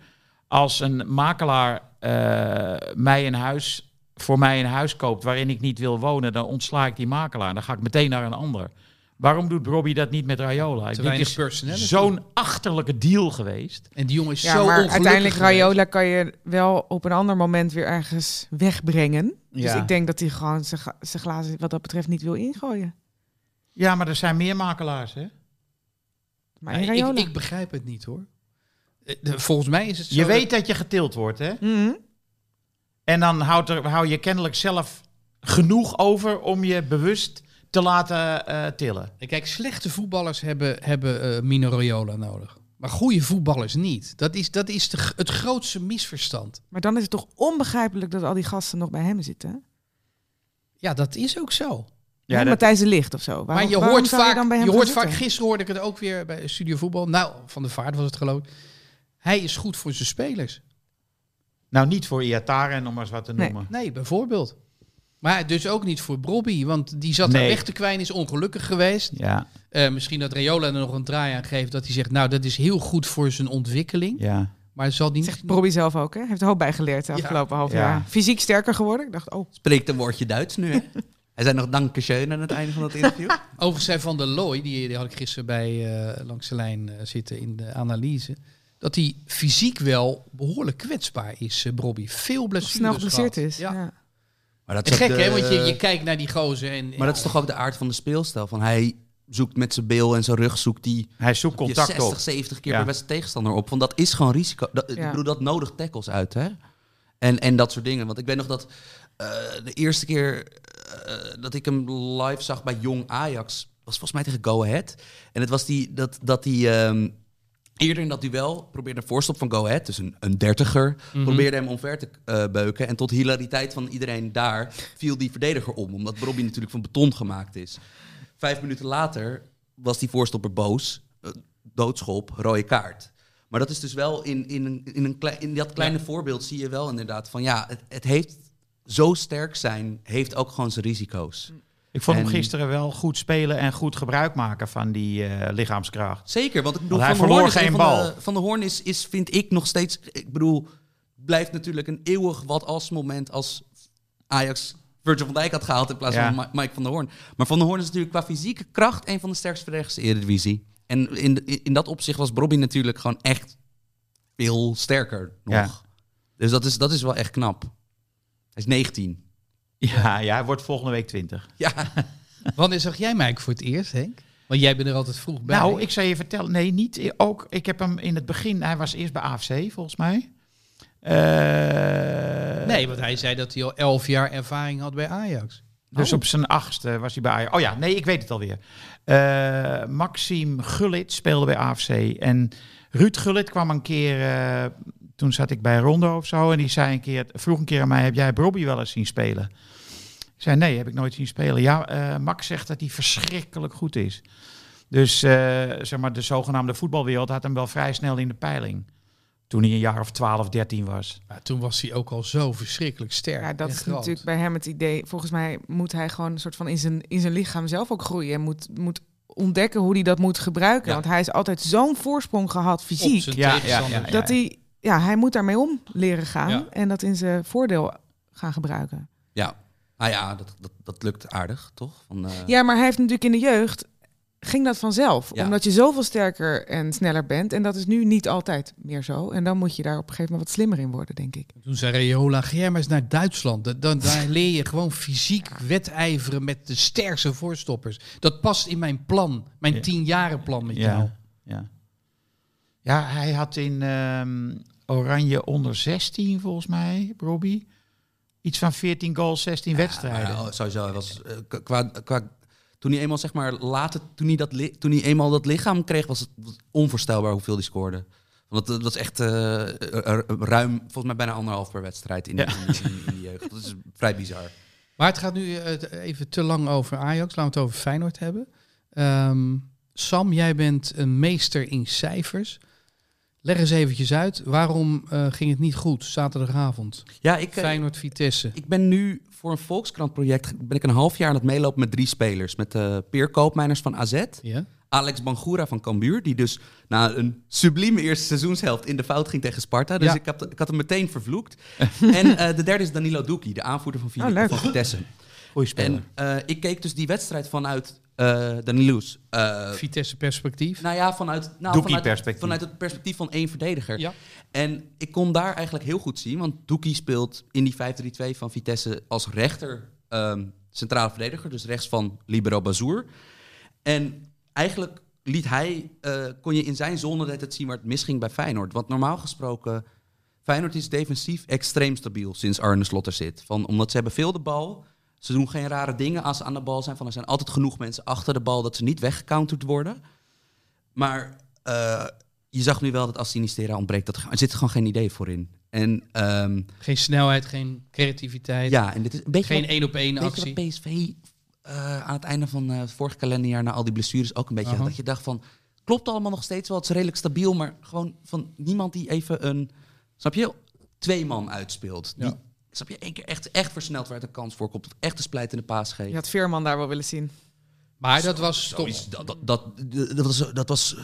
Als een makelaar eh, mij een huis, voor mij een huis koopt waarin ik niet wil wonen, dan ontsla ik die makelaar. Dan ga ik meteen naar een ander. Waarom doet Robbie dat niet met Rayola? Ik
Te
denk,
weinig
het
personality.
is zo'n achterlijke deal geweest.
En die jongen is
Ja,
zo
maar
ongelukkig
uiteindelijk
geweest.
Rayola kan je wel op een ander moment weer ergens wegbrengen. Dus
Ja.
ik denk dat hij gewoon zijn gla- zijn glazen wat dat betreft niet wil ingooien.
Ja, maar er zijn meer makelaars, hè?
Maar
Maar
in
ik,
Rayola.
ik begrijp het niet hoor. Eh, de- Volgens mij is het zo.
Je
dat-
weet dat je getild wordt, hè?
Mhm.
En dan houdt er, hou je kennelijk zelf genoeg over om je bewust te laten eh, tillen.
En Kijk, slechte voetballers hebben, hebben eh, Mino Raiola nodig. Maar goede voetballers niet. Dat is, dat is de g- het grootste misverstand.
Maar dan is het toch onbegrijpelijk dat al die gasten nog bij hem zitten.
Ja, dat is ook zo.
Ja, Matthijs de Licht of zo. Waarom,
maar je
waarom
hoort
zou
vaak,
dan bij
je,
hem gaan
hoort vaak,
zitten?
gisteren hoorde ik het ook weer bij Studio Voetbal. Nou, Van de Vaart was het geloof ik. Hij is goed voor zijn spelers.
Nou, niet voor Iataren, om maar eens wat te
Nee.
noemen.
Nee, bijvoorbeeld. Maar dus ook niet voor Bobby, want die zat daar
Nee.
weg te kwijnen, is ongelukkig geweest.
Ja,
Eh, misschien dat Rayola er nog een draai aan geeft, dat hij zegt, nou, dat is heel goed voor zijn ontwikkeling.
ja.
Maar zal die
Zegt
niet...
Robbie zelf ook, hè? Hij heeft er hoop bij geleerd de
Ja.
afgelopen half
Ja.
jaar. Fysiek sterker geworden. Ik dacht, oh,
Spreekt een woordje Duits nu, hè? Hij zei nog dankeschön aan het einde van dat interview.
Overigens zei Van der Looy, die, die had ik gisteren bij eh, Langs de Lijn eh, zitten in de analyse, dat hij fysiek wel behoorlijk kwetsbaar is, eh Bobby. Veel blessures
snel geblesseerd
gehad.
is.
Ja.
Ja.
Maar dat
Het is gek,
ook de-
hè? Want je, je kijkt naar die gozer en...
Maar dat is toch ook de aard van de speelstijl? Van hij zoekt met zijn bil en zijn rug zoekt die
Hij zoekt
je
contact
60,
op.
70 keer
Ja.
per wedstrijd tegenstander op. Want dat is gewoon risico. Dat,
Ja.
Ik bedoel, dat nodig tackles uit, hè? En, en dat soort dingen. Want ik weet nog dat eh, de eerste keer eh, dat ik hem live zag bij Jong Ajax... was volgens mij tegen Go Ahead. En het was die, dat, dat die... ehm, Eerder in dat duel probeerde een voorstop van Go Ahead, dus een, een dertiger,
Mhm.
probeerde hem omver te eh, beuken. En tot hilariteit van iedereen daar viel die verdediger om, omdat Robbie natuurlijk van beton gemaakt is. Vijf minuten later was die voorstopper boos, eh, doodschop, rode kaart. Maar dat is dus wel in, in, een- in, een klei- in dat kleine voorbeeld zie je wel inderdaad van ja, het, het heeft zo sterk zijn, heeft ook gewoon zijn risico's.
Ik vond hem
En-
gisteren wel goed spelen en goed gebruik maken van die eh, lichaamskracht.
Zeker, want ik bedoel,
Want hij
Van de Hoorn is
verloor
een
geen
van de-
bal.
Van de Hoorn is, is, vind ik nog steeds... Ik bedoel, blijft natuurlijk een eeuwig wat-als moment als Ajax Virgil van Dijk had gehaald in plaats
Ja.
van Ma- Mike van der Hoorn. Maar Van der Hoorn is natuurlijk qua fysieke kracht een van de sterkste verdedigers in de Eredivisie. En in, de- in dat opzicht was Bobby natuurlijk gewoon echt veel sterker nog.
Ja.
Dus dat is, dat is wel echt knap. Hij is 19.
Ja, ja, hij wordt volgende week 20.
Ja,
Wanneer zag jij Mike voor het eerst, Henk? Want jij bent er altijd vroeg bij.
Nou, ik zou je vertellen. Nee, niet. i- Ook, ik heb hem in het begin. Hij was eerst bij AFC, volgens mij. Eh,
Nee, want hij zei dat hij al elf jaar ervaring had bij Ajax.
Dus op zijn achtste was hij bij Ajax. Oh ja, nee, ik weet het alweer. Eh Maxime Gullit speelde bij AFC. En Ruud Gullit kwam een keer... eh, toen zat ik bij Rondo of zo. En die zei een keer, vroeg een keer aan mij... Heb jij Robbie wel eens zien spelen? Ik zei, nee, heb ik nooit zien spelen. Ja, eh, Max zegt dat hij verschrikkelijk goed is. Dus eh, zeg maar, de zogenaamde voetbalwereld had hem wel vrij snel in de peiling. Toen hij een jaar of 12, 13 was.
Maar toen was hij ook al zo verschrikkelijk sterk.
Ja, dat
en
is
groot.
natuurlijk bij hem het idee. Volgens mij moet hij gewoon een soort van in zijn, in zijn lichaam zelf ook groeien. En moet, moet ontdekken hoe hij dat moet gebruiken.
Ja.
Want hij is altijd zo'n voorsprong gehad
Op
fysiek.
zijn
Ja, ja,
tegenstander.
ja, ja.
Dat hij, ja, hij moet daarmee om leren gaan.
Ja.
En dat in zijn voordeel gaan gebruiken.
ja. Ah ja, dat, dat, dat lukt aardig, toch? Van, eh,
Ja, maar hij heeft natuurlijk in de jeugd... Ging dat vanzelf?
Ja.
Omdat je zoveel sterker en sneller bent. En dat is nu niet altijd meer zo. En dan moet je daar op een gegeven moment wat slimmer in worden, denk ik.
Toen zei Rayola, ga jij maar eens naar Duitsland. Da- Dan, daar leer je gewoon fysiek wedijveren met de sterkste voorstoppers. Dat past in mijn plan, mijn
Ja.
tienjarenplan met jou.
Ja. ja, hij had in ehm, Oranje onder 16 volgens mij, Robbie. Iets van 14 goals, 16 wedstrijden.
Maar, oh, sowieso, hij was eh, k- qua, qua toen hij eenmaal zeg maar later, toen hij dat, li- toen hij eenmaal dat lichaam kreeg, was het was onvoorstelbaar hoeveel hij scoorde. Want dat, dat was echt eh, r- ruim, volgens mij bijna anderhalf per wedstrijd in,
Ja.
in, in- in de jeugd. Dat is vrij bizar.
Maar het gaat nu eh, t- even te lang over Ajax. Laten we het over Feyenoord hebben. Ehm, Sam, jij bent een meester in cijfers. Leg eens eventjes uit, waarom eh, ging het niet goed zaterdagavond?
Ja, ik, eh,
Feyenoord-Vitesse.
Ik ben nu voor een Volkskrant project ben ik een half jaar aan het meelopen met drie spelers. Met eh Peer Koopmeiners van AZ,
Ja?
Alex Bangura van Cambuur, die dus na een sublieme eerste seizoenshelft in de fout ging tegen Sparta. Dus
Ja.
ik, had, ik had hem meteen vervloekt. en eh, de derde is Danilo Duki, de aanvoerder van, Vit-
Oh, leuk.
van Vitesse.
Ah, Goeie speler.
En eh, ik keek dus die wedstrijd vanuit eh Danilo's. eh,
Vitesse-perspectief.
nou ja, vanuit, nou,
Doekie
vanuit,
perspectief.
vanuit het perspectief van één verdediger.
Ja.
En ik kon daar eigenlijk heel goed zien, want Doekie speelt in die 5-3-2 van Vitesse als rechter ehm, centrale verdediger, dus rechts van Libero Bazour. En eigenlijk liet hij, eh, kon je in zijn zone net het zien waar het misging bij Feyenoord. Want normaal gesproken, Feyenoord is defensief extreem stabiel sinds Arne Slot er zit. Van, omdat ze hebben veel de bal, ze doen geen rare dingen als ze aan de bal zijn. Van, er zijn altijd genoeg mensen achter de bal dat ze niet weggecounterd worden. Maar eh, je zag nu wel dat als Sinistera ontbreekt, dat, er zit gewoon geen idee voor in. En ehm,
Geen snelheid, geen creativiteit,
ja, en dit is een beetje
geen
wat-
één-op-één
Weet
actie.
je dat PSV eh, aan het einde van eh, het vorig kalenderjaar na al die blessures ook een beetje
Aha.
had? Dat je dacht van, klopt allemaal nog steeds wel, het is redelijk stabiel, maar gewoon van niemand die even een, snap je, twee man uitspeelt. Die
Ja.
Snap je? Eén keer echt, echt versneld waar het een kans voor komt. Of echt een splijtende paas geeft.
Je had Veerman daar wel willen zien.
Maar dat was toch...
Zoiets, Dat, dat, dat, dat was, dat was eh,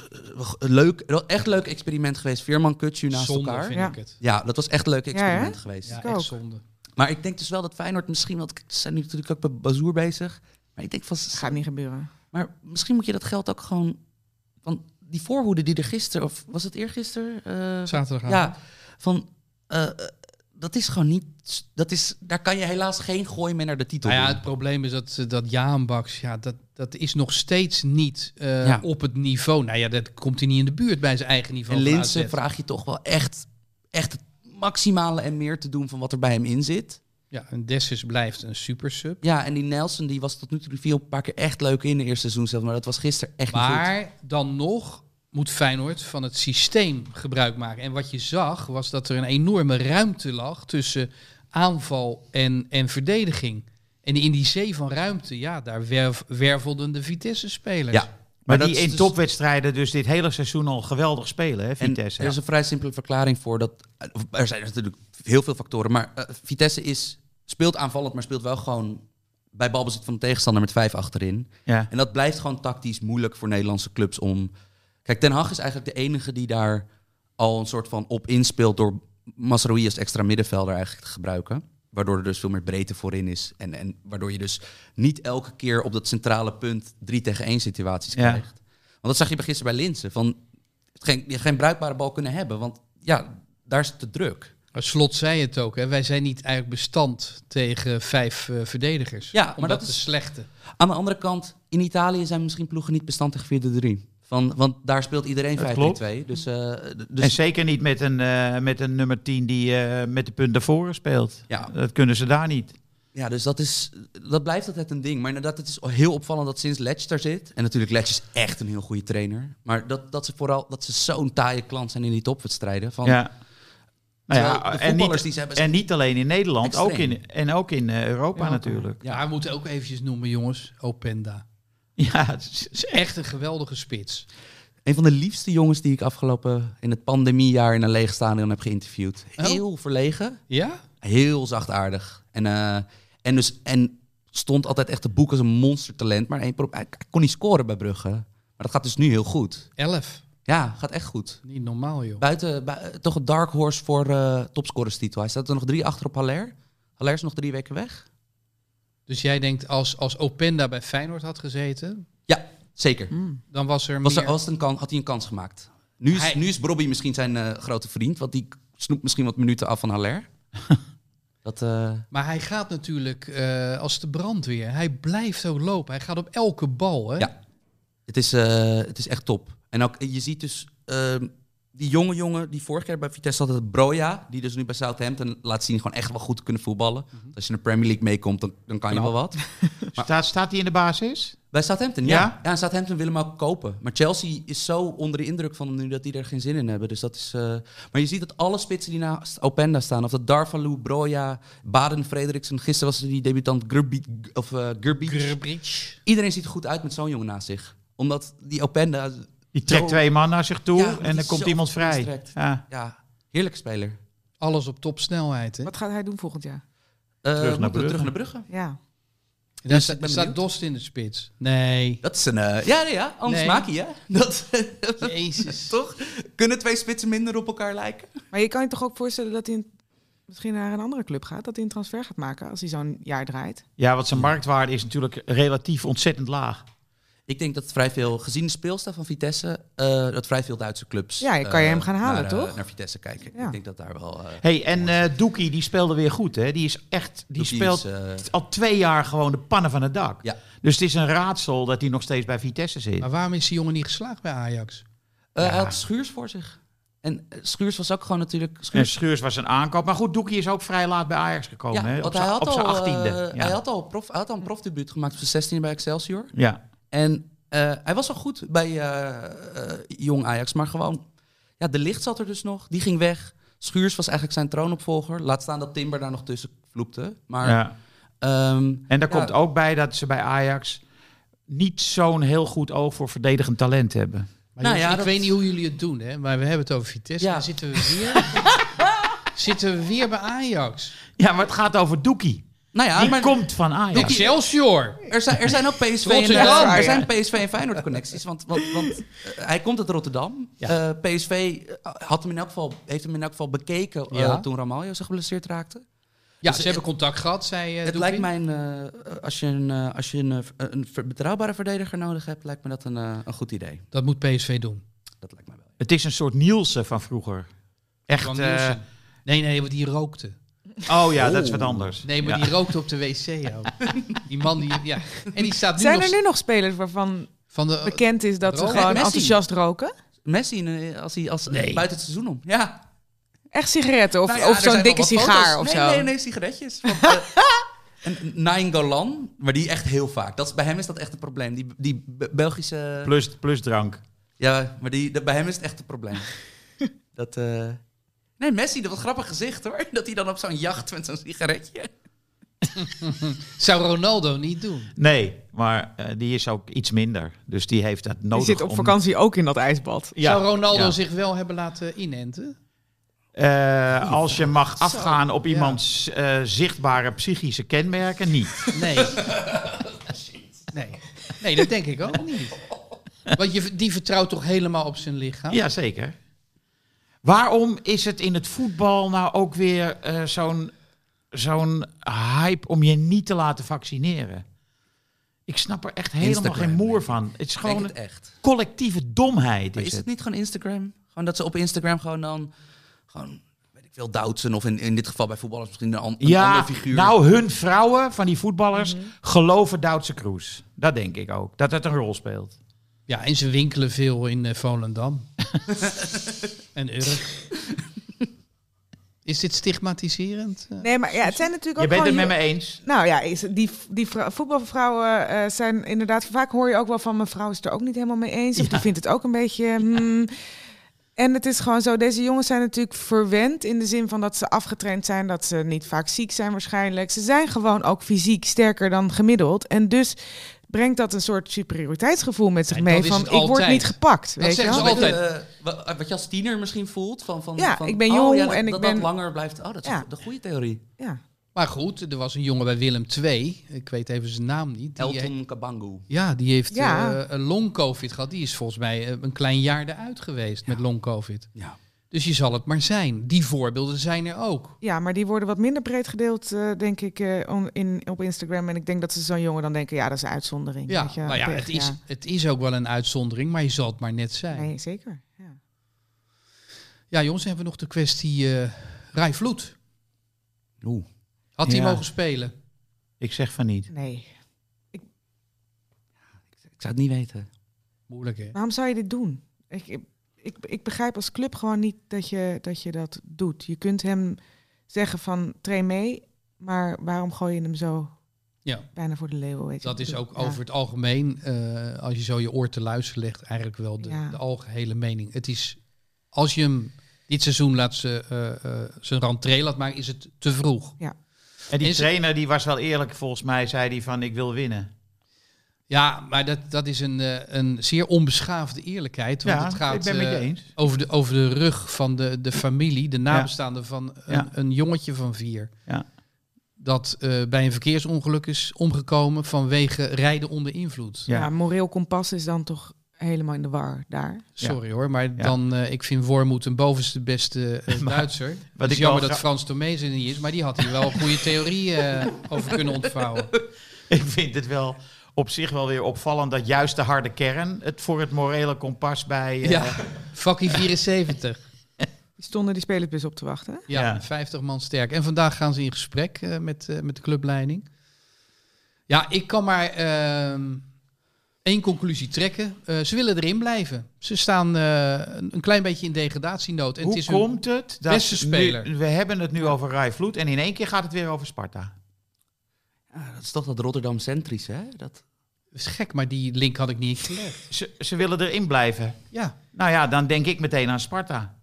een leuk, een echt leuk experiment geweest. Veerman, Kutsu naast
zonde,
elkaar.
vind
Ja.
ik het.
Ja, dat was echt een leuk experiment
hè?
geweest.
Ja,
Ik ook.
echt zonde.
Maar ik denk dus wel dat Feyenoord misschien... Want ze zijn nu natuurlijk ook bij Bazoer bezig. Maar ik denk vast...
Gaat niet gebeuren.
Maar misschien moet je dat geld ook gewoon. Van die voorhoede die er gisteren, of was het eergisteren? Eh,
Zaterdagavond.
ja, van. eh, eh, dat is gewoon niet. Dat is, daar kan je helaas geen gooi meer naar de titel.
Nou ja,
doen.
het probleem is dat, eh, dat Jaan Baks, ja, dat, dat is nog steeds niet eh,
Ja.
op het niveau. Nou ja, dat komt hij niet in de buurt bij zijn eigen niveau.
en
van
Linsen
AZ.
vraag je toch wel echt, echt het maximale en meer te doen van wat er bij hem in zit.
Ja, en Dessus blijft een super sub.
Ja, en die Nelson die was tot nu toe die viel een paar keer echt leuk in de eerste seizoen zelf, maar dat was gisteren echt niet goed.
Maar dan nog moet Feyenoord van het systeem gebruik maken. En wat je zag was dat er een enorme ruimte lag tussen aanval en, en verdediging. En in die zee van ruimte, ja, daar werf- wervelden de Vitesse-spelers.
Ja,
Maar,
dat
die
is
in
dus-
topwedstrijden dus dit hele seizoen al geweldig spelen, hè,
En
Vitesse.
er is een vrij simpele verklaring voor. Dat, of er zijn dus natuurlijk heel veel factoren, maar eh, Vitesse is, speelt aanvallend, maar speelt wel gewoon bij balbezit van de tegenstander met vijf achterin.
Ja.
En dat blijft gewoon tactisch moeilijk voor Nederlandse clubs om... Kijk, Ten Hag is eigenlijk de enige die daar al een soort van op inspeelt... door Masraoui als extra middenvelder eigenlijk te gebruiken. Waardoor er dus veel meer breedte voorin is. En, en waardoor je dus niet elke keer op dat centrale punt... drie tegen één situaties
Ja.
krijgt. Want dat zag je bij gisteren bij Linsen. Van, geen, je geen bruikbare bal kunnen hebben, want ja, daar is het te druk.
Maar Slot zei het ook, hè. wij zijn niet eigenlijk bestand tegen vijf eh, verdedigers.
Ja, maar
Omdat
dat
de
is-
slechte.
Aan de andere kant, in Italië zijn misschien ploegen niet bestand tegen 4-3. Van, want daar speelt iedereen
Dat
5-3-2. Dus, eh, d- dus
en zeker niet met een, eh, met een nummer 10 die eh, met de punt naar voren speelt.
Ja.
Dat kunnen ze daar niet.
Ja, dus dat, is, dat blijft altijd een ding. Maar inderdaad, het is heel opvallend dat sinds Letch daar zit. En natuurlijk, Letch is echt een heel goede trainer. Maar dat, dat ze vooral dat ze zo'n taaie klant zijn in die topwedstrijden. Van,
Ja. Nou
Terwijl
ja,
de
en
voetballers
niet,
die ze hebben
en niet alleen in Nederland, ook
Extreem.
in, en ook in eh, Europa
Ja.
natuurlijk.
Ja, we moeten ook eventjes noemen, jongens, Openda.
Ja, het is-
Dat is echt een geweldige spits.
Een van de liefste jongens die ik afgelopen in het pandemiejaar in een leeg stadion heb geïnterviewd.
Oh.
Heel verlegen,
Ja?
heel zachtaardig. En, eh, en, dus, en stond altijd echt te boek als een monstertalent. Maar één pro- hij hij kon niet scoren bij Brugge. Maar dat gaat dus nu heel goed.
Elf.
Ja, gaat echt goed.
Niet normaal, joh.
Buiten, bui- toch een dark horse voor eh topscorerstitel. Hij staat er nog drie achter op Haller. Haller is nog drie weken weg.
Dus jij denkt, als, als Openda bij Feyenoord had gezeten,
Ja, zeker.
dan was er
Was er,
Hmm, meer...
was het een kan, had hij een kans gemaakt. Nu is,
Hij-
nu is Brobby misschien zijn eh, grote vriend. Want die snoept misschien wat minuten af van Haller. dat, eh,
Maar hij gaat natuurlijk eh, als de brandweer. Hij blijft ook lopen. Hij gaat op elke bal, hè?
Ja. het, is, eh, het is echt top. En ook, je ziet dus ehm, die jonge jongen die vorig jaar bij Vitesse had, het Broja. Die dus nu bij Southampton laat zien gewoon echt wel goed te kunnen voetballen. Want Als je in de Premier League meekomt, dan, dan kan je wel wat.
staat, staat die in de basis?
Bij Southampton, ja.
Ja?
Ja, en Southampton wil hem ook kopen. Maar Chelsea is zo onder de indruk van hem nu dat die er geen zin in hebben. Dus dat is, eh, Maar je ziet dat alle spitsen die naast Openda staan, of dat Darvalu, Broja, Baden, Frederiksen, gisteren was er die debutant Gurbi, of, eh Gurbic.
Grbic.
Iedereen ziet er goed uit met zo'n jongen naast zich. Omdat die Openda...
Die trekt
zo-
twee man naar zich toe
Ja, want die
en dan
is
komt
zo
iemand vrij.
verstrekt.
Ja.
Ja, heerlijke speler.
Alles op topsnelheid, hè?
Wat gaat hij doen volgend jaar?
Eh,
naar
moeten we
Brugge.
Terug naar Brugge.
Ja.
Daar
Dus ik
sta-
ben
staat
benieuwd.
Dost in de spits. Nee.
Dat is een... eh, ja, nee, ja, anders
Nee.
maak je, hè? Dat, eh,
Jezus.
toch? Kunnen twee spitsen minder op elkaar lijken?
Maar je kan je toch ook voorstellen dat hij een- misschien naar een andere club gaat? Dat hij een transfer gaat maken als hij zo'n jaar draait?
ja, want zijn marktwaarde is natuurlijk relatief ontzettend laag.
Ik denk dat vrij veel, gezien de speelstijl van Vitesse, eh, dat vrij veel Duitse clubs.
Ja, je kan je
eh,
hem gaan halen,
naar, eh,
toch?
naar Vitesse kijken.
Ja.
Ik denk dat daar wel. eh,
hey, en eh Doekie, die speelde weer goed, hè? Die is echt, die
Doekie
speelt
is, eh,
al twee jaar gewoon de pannen van het dak.
Ja.
Dus het is een raadsel dat hij nog steeds bij Vitesse zit.
Nou,
Maar waarom is die jongen niet geslaagd bij Ajax?
eh, Hij had Schuurs voor zich. En eh, Schuurs was ook gewoon natuurlijk.
En
Schuurs,
Schuurs was een aankoop. Maar goed, Doekie is ook vrij laat bij Ajax gekomen. hè? Op
want
zijn
hij had
op zijn
al,
18e.
eh,
ja.
Hij had al, prof, hij had al een profdebuut gemaakt op zijn 16 bij Excelsior.
ja.
En eh, hij was al goed bij eh, eh, jong Ajax, maar gewoon. Ja, de licht zat er dus nog. Die ging weg. Schuurs was eigenlijk zijn troonopvolger. Laat staan dat Timber daar nog tussen vloepte. Maar.
ja.
ehm,
En daar
ja,
komt ook bij dat ze bij Ajax niet zo'n heel goed oog voor verdedigend talent hebben.
Maar
Nou
jongens,
ja,
ik
dat-
weet niet hoe jullie het doen, hè? Maar we hebben het over Vitesse.
Ja.
Dan zitten we weer. Zitten we weer bij Ajax.
Ja, maar het gaat over Doekie.
Nou ja,
Die
maar
komt van Ajax.
Excelsior.
er, zijn, er zijn ook PSV
Rotterdam.
en, er zijn PSV en Feyenoord connecties. Want, want, want eh, hij komt uit Rotterdam.
Ja.
Eh, PSV had hem in elk geval, heeft hem in elk geval bekeken eh,
Ja.
toen Ramaljo zich geblesseerd raakte.
Ja,
Dus
ze hebben contact gehad, zei eh,
Het
Doekie.
lijkt mij, een, eh, als je, een, eh, als je een, eh, een ver- betrouwbare verdediger nodig hebt, lijkt me dat een, eh, een goed idee.
Dat moet PSV doen.
Dat lijkt mij wel.
Het is een soort Nielsen van vroeger.
Van
Echt. eh,
Nielsen. Nee, nee, want die rookte.
oh ja, dat is wat anders.
Nee, maar
Ja.
die rookte op de wc ook. Die man die... Ja. En die staat nu
Zijn
nog Eh,
er nu nog spelers waarvan
van de,
bekend is dat ze
roken.
gewoon
Messi.
enthousiast roken?
Messi, eh, als hij als,
Nee.
buiten het seizoen om. Ja,
Echt sigaretten of,
Nou ja,
of
er
zo'n
zijn
dikke
wel wat foto's.
sigaar of
nee,
zo?
Nee, nee, sigaretjes. Want, eh, en Nainggolan, maar die echt heel vaak. Dat is, bij hem is dat echt een probleem. Die, die Be- Belgische...
Plus, plus drank.
Ja, maar die, dat- bij hem is het echt een probleem. dat, eh, Nee, Messi, dat was een grappig gezicht hoor. Dat hij dan op zo'n jacht met zo'n sigaretje...
Zou Ronaldo niet doen?
Nee, maar eh, die is ook iets minder. Dus die heeft dat
Die
nodig.
zit op
om-
vakantie ook in dat ijsbad.
Ja,
Zou Ronaldo
ja.
zich wel hebben laten inenten?
Eh, als je mag afgaan op iemands eh, zichtbare psychische kenmerken, niet.
Nee. nee. Nee, dat denk ik ook niet. Want je, die vertrouwt toch helemaal op zijn lichaam?
Jazeker. Waarom is het in het voetbal nou ook weer eh, zo'n zo'n hype om je niet te laten vaccineren? Ik snap er echt helemaal
Instagram,
geen moer
denk ik.
van. Het is
Ik denk
gewoon
het
een
echt.
collectieve domheid.
Maar
Is
is het
het.
niet gewoon Instagram? Gewoon dat ze op Instagram gewoon dan... Gewoon, weet ik veel, Doutsen of in, in dit geval bij voetballers misschien een, an- een
Ja,
ander figuur.
nou hun vrouwen van die voetballers
Mhm.
geloven Duitse Kroes. Dat denk ik ook. Dat het een rol speelt.
Ja, en ze winkelen veel in eh, Volendam. en Urk. Is dit stigmatiserend? Eh,
Nee, maar ja, het zijn natuurlijk ook
Je bent het
gewoon
met
heel-
me eens.
Nou ja, is, die, die vrou- voetbalvrouwen eh, zijn inderdaad... Vaak hoor je ook wel van mijn vrouw is het er ook niet helemaal mee eens. Of die vindt het ook een beetje... hmm. En het is gewoon zo, deze jongens zijn natuurlijk verwend... in de zin van dat ze afgetraind zijn, dat ze niet vaak ziek zijn waarschijnlijk. Ze zijn gewoon ook fysiek sterker dan gemiddeld. En dus brengt dat een soort superioriteitsgevoel met zich
En
mee.
dat is
Van,
het
ik word
altijd.
niet gepakt,
Dat
weet je
zeggen ze
wel?
Weet je,
altijd.
eh, wa- wat je als tiener misschien voelt van, van,
Ja,
van,
ik ben jong
oh, ja, dat,
en ik
dat,
ben-
dat langer blijft. Oh, dat is
Ja.
de goede theorie.
Ja.
Maar goed, er was een jongen bij Willem II. Ik weet even zijn naam niet. Die
eh,
he-
Elton Kabangu.
ja, die heeft
Ja.
eh, een long-covid gehad. Die is volgens mij eh, een klein jaar eruit geweest met long-covid.
Ja.
Dus je zal het maar zijn. Die voorbeelden zijn er ook.
Ja, maar die worden wat minder breed gedeeld, eh, denk ik, eh, on- in, op Instagram. En ik denk dat ze zo'n jongen dan denken, ja, dat is een uitzondering.
Ja,
weet je,
nou ja,
pech,
het is, het is ook wel een uitzondering, maar je zal het maar net zijn.
Nee, zeker. Ja.
Ja, jongens, dan hebben we nog de kwestie eh Rai Vloed.
Oeh.
Had hij
Ja.
mogen spelen?
Ik zeg van niet.
Nee.
Ik zou het niet weten.
Moeilijk, hè?
Waarom zou je dit doen? Ik, ik, ik, ik begrijp als club gewoon niet dat je, dat je dat doet. Je kunt hem zeggen van, train mee, maar waarom gooi je hem zo
Ja.
bijna voor de leeuw? Weet je
Dat
wat
is
ik
ook
bedoel? Ja.
over het algemeen, eh, als je zo je oor te luisteren legt, eigenlijk wel de,
Ja.
de algehele mening. Het is, als je hem dit seizoen laat ze, eh, eh, zijn rentree laat maken, is het te vroeg.
En die
Is het-
trainer die was wel eerlijk volgens mij. Zei die van ik wil winnen.
Ja, maar dat, dat is een, eh, een zeer onbeschaafde eerlijkheid. Want
Ja,
het gaat
ik ben het met je
eh,
eens.
Over, de, over de rug van de, de familie, de nabestaanden van een,
Ja.
een jongetje van vier.
Ja.
Dat eh, bij een verkeersongeluk is omgekomen vanwege rijden onder invloed.
Ja, moreel kompas is dan toch helemaal in de war daar.
Sorry hoor, maar dan, eh, ik vind Wormoed een bovenste beste eh, Duitser. Het is
ik wel
jammer dat
gra-
Frans Tomees er niet is, maar die had hier wel een goede theorie eh, over kunnen ontvouwen.
Ik vind het wel op zich wel weer opvallend dat juist de harde kern het voor het morele kompas bij. eh,
Ja, fucking 74.
Die stonden die spelersbus op te wachten. hè?
Ja,
Ja.
50 man sterk. En vandaag gaan ze in gesprek eh, met, eh, met de clubleiding. Ja, ik kan maar ehm, één conclusie trekken. Eh, ze willen erin blijven. Ze staan eh, een een klein beetje in degradatienood. En
Hoe
het is hun-
komt het dat
beste speler.
Nu, we hebben het nu over Rai Vloed en in één keer gaat het weer over Sparta.
Ja, dat is toch dat Rotterdam-centrisch, hè? Dat...
is gek, maar die link had ik niet gelegd.
Ze, ze willen erin blijven.
Ja,
Nou ja, dan denk ik meteen aan Sparta.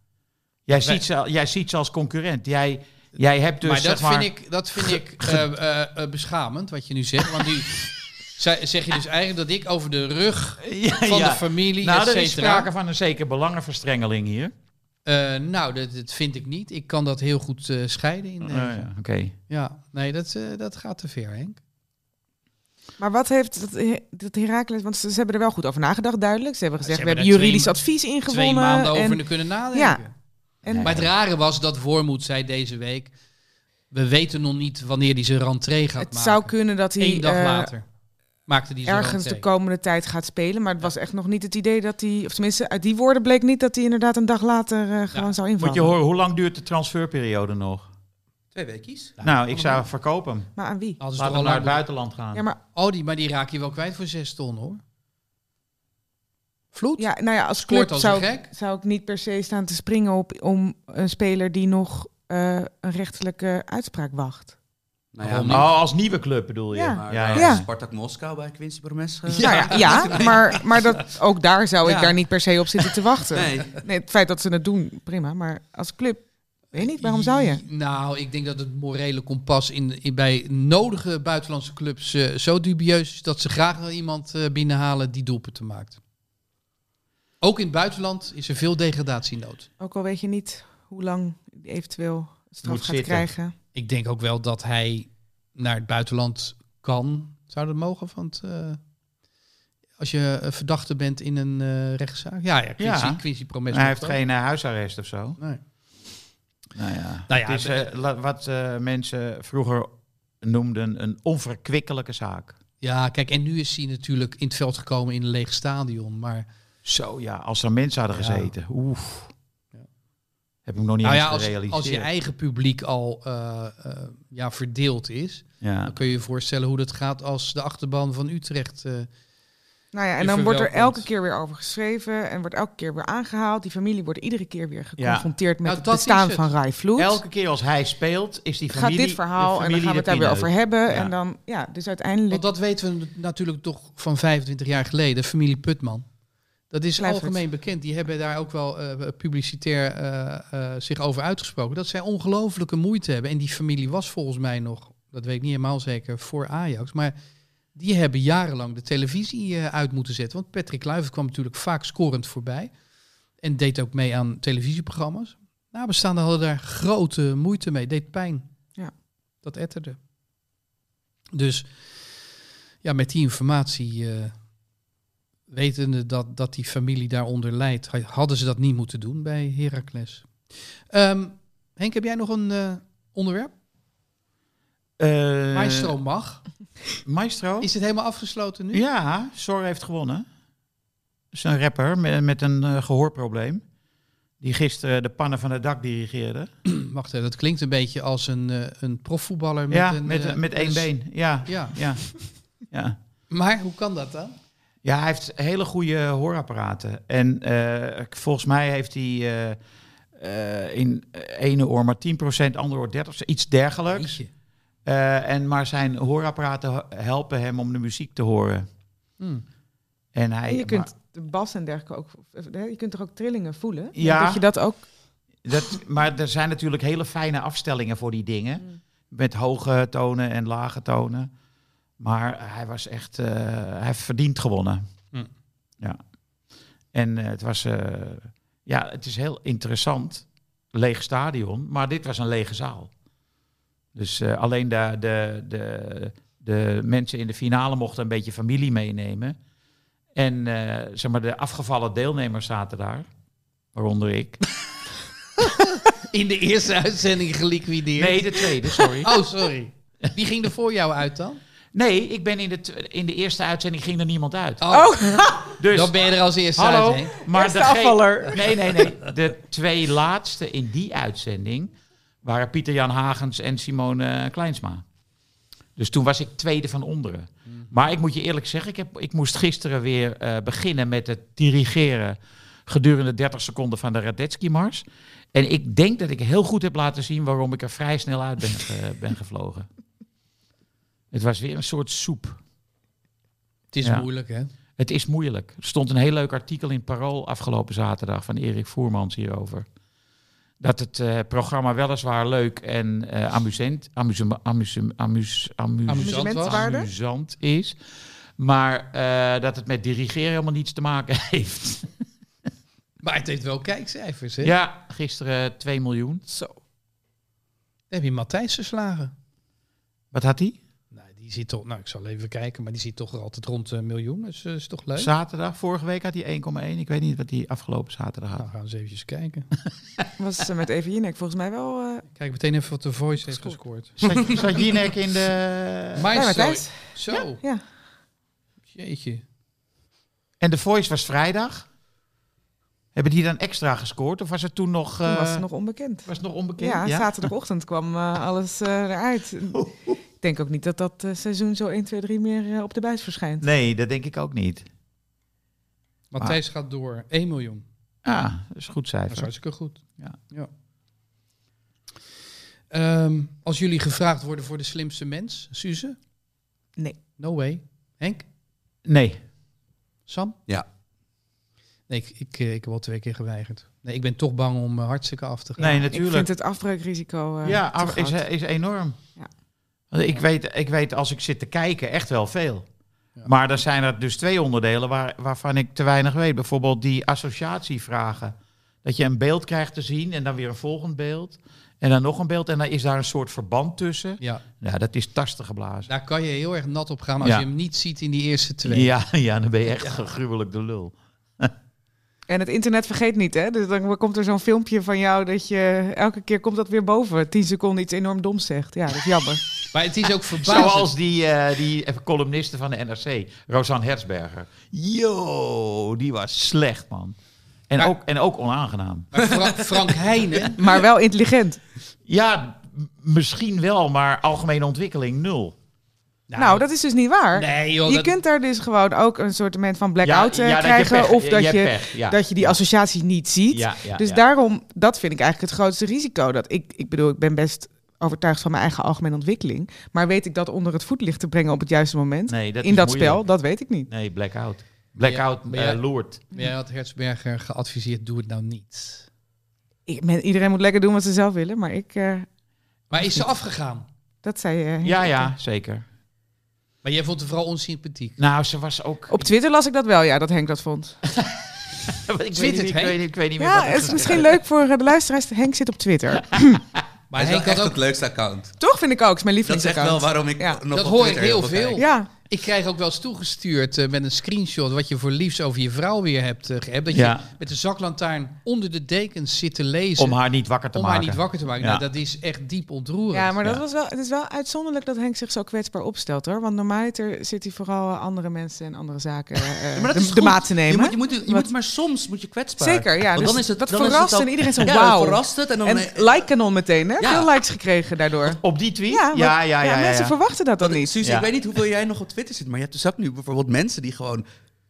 Jij, ziet, ze, al- jij ziet ze als concurrent. Jij, jij hebt dus.
maar dat
zeg maar,
vind ik, dat vind ik eh, eh, eh, beschamend wat je nu zegt. Want nu ze- zeg je dus eigenlijk dat ik over de rug
Ja,
van
ja.
de familie,
Nou,
et
er is
cetera.
sprake van een zekere belangenverstrengeling hier.
Eh, nou, dat, dat vind ik niet. Ik kan dat heel goed eh, scheiden. In, eh,
Oh, ja, Oké.
Ja, nee, dat, eh, dat gaat te ver, Henk.
Maar wat heeft dat, He- dat Herakles... Want ze, ze hebben er wel goed over nagedacht, duidelijk. Ze hebben gezegd,
hebben
we hebben
daar twee
juridisch
ma-
advies
Twee
ingewonnen.
maanden
en-
over kunnen nadenken.
Ja. en-
Maar het rare was dat Wormoed zei deze week... We weten nog niet wanneer hij zijn rentree gaat
het
maken.
zou kunnen dat hij
Eén dag
eh,
later maakte hij zijn
ergens de
rentree.
komende tijd gaat spelen. Maar het was echt nog niet het idee dat hij... Of tenminste, uit die woorden bleek niet dat hij inderdaad een dag later eh, gewoon zou invallen.
Moet je horen, hoe lang duurt de transferperiode nog?
Twee weekjes.
nou, ik zou verkopen hem.
Maar aan wie?
Hadden ze
Laat
toch
hem
al
naar het
lang-
buitenland gaan.
Ja, maar
Oh, die, maar die raak je wel kwijt voor zes ton, hoor. Vloed?
ja, nou ja, als
Scoort
club
als
zou,
een gek.
zou ik niet per se staan te springen op om een speler die nog eh, een rechtelijke uitspraak wacht.
Nou
Waarom
maar-
Oh, als nieuwe club bedoel je?
Ja.
maar,
ja,
eh,
ja.
ja.
Spartak Moskou bij Quincy Promes. eh,
Ja, Nou ja, ja maar, maar dat, ook daar zou ik
Ja.
daar niet per se op zitten te wachten.
Nee.
Nee, het feit dat ze het doen, prima. Maar als club, weet je niet, waarom zou je?
Nou, ik denk dat het morele kompas in, in, bij nodige buitenlandse clubs eh, zo dubieus is dat ze graag wel iemand eh, binnenhalen die doelpunten maakt. Ook in het buitenland is er veel degradatienood.
Ook al weet je niet hoe lang die eventueel straf
Moet
gaat
zitten.
krijgen.
Ik denk ook wel dat hij naar het buitenland kan. Zou dat mogen? Want eh, als je eh, verdachte bent in een eh, rechtszaak. Ja, ja, Quincy,
Ja.
Quincy
Maar
Promes.
Hij
mocht
heeft
ook.
geen eh, huisarrest of zo.
Nee.
Nou ja.
Nou ja,
het is, eh, la- wat eh, mensen vroeger noemden een onverkwikkelijke zaak.
Ja, kijk, en nu is hij natuurlijk in het veld gekomen in een leeg stadion. Maar
Zo ja, als er mensen hadden
Ja.
gezeten. Oef.
Ja.
Heb ik nog niet
Nou
eens
ja, als,
gerealiseerd.
als je eigen publiek al eh, eh, ja, verdeeld is,
ja.
dan kun je je voorstellen hoe dat gaat als de achterban van Utrecht. eh,
Nou ja, en
Je
dan wordt er
verwelkomt.
elke keer weer over geschreven en wordt elke keer weer aangehaald. Die familie wordt iedere keer weer
Ja.
geconfronteerd met
Nou,
het
dat is
bestaan
het.
van Rai Vloed.
Elke keer als hij speelt, is die
gaat
familie...
dit verhaal
de
en dan gaan we
familie
het
de
daar weer over
pineut.
hebben.
Ja.
En dan, ja, dus uiteindelijk
want dat weten we natuurlijk toch van 25 jaar geleden, familie Putman. Dat is
Kluivert.
algemeen bekend. Die hebben daar ook wel eh, publicitair eh, eh, zich over uitgesproken. Dat zij ongelooflijke moeite hebben. En die familie was volgens mij nog, dat weet ik niet helemaal zeker, voor Ajax. Maar die hebben jarenlang de televisie eh, uit moeten zetten. Want Patrick Kluivert kwam natuurlijk vaak scorend voorbij. En deed ook mee aan televisieprogramma's. Nou, Nabestaanden hadden daar grote moeite mee. Deed pijn.
Ja.
Dat etterde. Dus ja, met die informatie, eh, wetende dat, dat die familie daaronder lijdt, ha- hadden ze dat niet moeten doen bij Heracles. Ehm, Henk, heb jij nog een eh, onderwerp?
Eh,
Maestro mag.
Maestro?
Is het helemaal afgesloten nu?
Ja, Sor heeft gewonnen. Dat is een rapper met, met een eh, gehoorprobleem. Die gisteren de pannen van het dak dirigeerde.
Wacht even, dat klinkt een beetje als een, eh, een profvoetballer. Met
ja,
een,
met,
eh,
met één
een s-
been. Ja,
Ja,
ja, ja.
maar hoe kan dat dan?
Ja, hij heeft hele goede hoorapparaten. En eh, volgens mij heeft hij eh, eh, in ene oor maar 10%, andere oor 30%, iets dergelijks.
Jeetje.
Eh, en, maar zijn hoorapparaten helpen hem om de muziek te horen.
Hm.
En hij,
En je kunt de bas en dergelijke ook. of, hè, Je kunt toch ook trillingen voelen?
Ja.
Dat je dat ook.
Dat, maar er zijn natuurlijk hele fijne afstellingen voor die dingen.
Mm.
Met hoge tonen en lage tonen. Maar hij was echt... eh, hij heeft verdiend gewonnen.
Mm.
Ja. En eh, het was... eh, ja, het is heel interessant. Leeg stadion. Maar dit was een lege zaal. Dus eh, alleen de, de, de, de mensen in de finale mochten een beetje familie meenemen. En eh, zeg maar, de afgevallen deelnemers zaten daar. Waaronder ik.
In de eerste uitzending geliquideerd.
Nee, de tweede, sorry.
Oh, sorry. Wie ging er voor jou uit dan?
Nee, ik ben in de, tw- in de eerste uitzending ging er niemand uit.
Oh,
Dus,
dan ben je er als eerste
hallo,
uit, Henk.
maar
Eerste
degene-
afvaller.
Nee, nee, nee. De twee laatste in die uitzending waren Pieter-Jan Hagens en Simone Kleinsma. Dus toen was ik tweede van onderen. Maar ik moet je eerlijk zeggen, ik, heb, ik moest gisteren weer eh, beginnen met het dirigeren gedurende 30 seconden van de Radetzky-mars. En ik denk dat ik heel goed heb laten zien waarom ik er vrij snel uit ben, ge- ben gevlogen. Het was weer een soort soep.
Het is
Ja.
moeilijk, hè?
Het is moeilijk. Er stond een heel leuk artikel in Parool afgelopen zaterdag van Erik Voermans hierover. Dat het eh, programma weliswaar leuk en eh amusant, amuse, amuse, amuse, amuse,
Amusant was.
Amusementswaarde?
amusant is. Maar eh, dat het met dirigeren helemaal niets te maken heeft.
Maar het heeft wel kijkcijfers, hè?
Ja, gisteren 2 miljoen.
Zo.
Dan heb je Matthijs verslagen.
Wat had hij?
Nou, die zit toch, nou, ik zal even kijken, maar die zit toch altijd rond een miljoen. Dus eh, is toch leuk?
Zaterdag, vorige week had hij 1,1. Ik weet niet wat hij afgelopen zaterdag had.
nou, gaan we eens eventjes kijken.
Was eh, met Even Jinek volgens mij wel... eh
Kijk meteen even wat de voice heeft gescoord.
Zat, zat Jinek in de...
Maar
bij
zo,
Matthijs.
zo.
Ja.
jeetje.
En de Voice was vrijdag. Hebben die dan extra gescoord? Of was het toen nog,
Toen
eh,
was het nog onbekend.
was het nog onbekend?
Ja, zaterdagochtend kwam eh, alles eh, eruit. Ik denk ook niet dat dat eh, seizoen zo 1, 2, 3 meer eh, op de buis verschijnt.
Nee, dat denk ik ook niet.
Matthijs gaat door. 1 miljoen.
Ah, dat is een goed
Dat is
cijfer.
hartstikke goed.
Ja.
ja. Ehm, als jullie gevraagd worden voor de slimste mens, Suze?
Nee.
No way. Henk?
Nee.
Sam?
Ja.
Nee, ik, ik, eh, ik heb al twee keer geweigerd. Nee, ik ben toch bang om eh, hartstikke af te gaan.
Nee,
Ik vind
natuurlijk.
het afbreukrisico eh,
ja,
te
af- is,
groot.
is enorm.
Ja.
Want ik, weet, ik weet als ik zit te kijken echt wel veel.
Ja.
Maar er zijn er dus twee onderdelen waar, waarvan ik te weinig weet. Bijvoorbeeld die associatievragen. Dat je een beeld krijgt te zien en dan weer een volgend beeld. En dan nog een beeld en dan is daar een soort verband tussen.
Ja,
Ja, dat is tasten geblazen.
daar kan je heel erg nat op gaan als
Ja.
je hem niet ziet in die eerste twee.
Ja, ja, dan ben je echt gruwelijk de lul.
En het internet vergeet niet, hè? Dus dan komt er zo'n filmpje van jou dat je elke keer komt dat weer boven. 10 seconden iets enorm doms zegt. Ja, dat is jammer.
Maar het is ook verbazend.
Zoals die, eh, die columniste van de NRC, Rosanne Herzberger. Yo, die was slecht, man. En,
Maar-
ook, en ook onaangenaam.
Maar Fra- Frank Heijnen,
maar wel intelligent.
Ja, m- misschien wel, maar algemene ontwikkeling nul.
Nou, dat is dus niet waar.
Nee, joh,
je
dat-
kunt daar dus gewoon ook een soort van blackout eh,
dat je
krijgen.
pech-
of dat je,
pech, ja.
dat je die associatie niet ziet.
Ja, ja,
dus
ja.
daarom, dat vind ik eigenlijk het grootste risico. Dat ik, ik bedoel, ik ben best overtuigd van mijn eigen algemene ontwikkeling. Maar weet ik dat onder het voetlicht te brengen op het juiste moment?
Nee, dat
in
is
dat
moeilijk.
spel, dat weet ik niet.
Nee, blackout. Blackout
Maar ja-
eh, loert.
Maar jij had Hertzberger geadviseerd, doe het nou niet.
Ik, men- iedereen moet lekker doen wat ze zelf willen, maar ik, eh,
Maar is ze afgegaan?
dat zei eh, je.
Ja, ja, zeker.
Maar jij vond het vooral onsympathiek.
Nou, ze was ook...
Op Twitter las ik dat wel, ja, dat Henk dat vond.
ik, weet
Twitter,
niet, ik,
hè?
weet, niet- ik weet niet meer
Ja,
wat ik
het is
gezegd
misschien
heb.
leuk voor eh, de luisteraars. Henk zit op Twitter.
Maar
Hij is wel
Henk had
echt
ook...
het leukste account.
Toch vind ik ook, is mijn
Dat is echt wel
lievelingsaccount.
waarom ik
Ja.
nog
Dat
op
hoor ik
Twitter
heel
veel
veel.
kijk.
Ja,
Ik krijg ook wel eens toegestuurd eh, met een screenshot wat je voor liefs over je vrouw weer hebt eh, gehebt. Dat
Ja.
je met de zaklantaarn onder de dekens zit te lezen
Om haar niet wakker te
om haar
maken.
niet wakker te maken.
Ja.
Nou, dat is echt diep ontroerend.
ja maar dat
Ja.
was wel, het is wel uitzonderlijk dat Henk zich zo kwetsbaar opstelt hoor. Want normaliter zit hij vooral eh, andere mensen en andere zaken eh,
Ja, maar dat is
de, de
goed.
maat te
Je
nemen.
moet, je moet, je
Wat-
moet maar soms moet je kwetsbaar.
Zeker, ja.
Want
Dus
dan is het,
dat
dan is het
verrast
al-
en iedereen zo,
ja,
wauw.
dan verrast het en dan...
En
eh,
like kanon meteen, hè?
Ja.
Veel likes gekregen daardoor.
Op die tweet?
Ja, want-
ja, ja, ja, ja.
mensen verwachten dat dan niet.
Suus,
Ja.
ik weet niet hoeveel jij nog op Twitter zit, maar je hebt dus ook nu bijvoorbeeld mensen die gewoon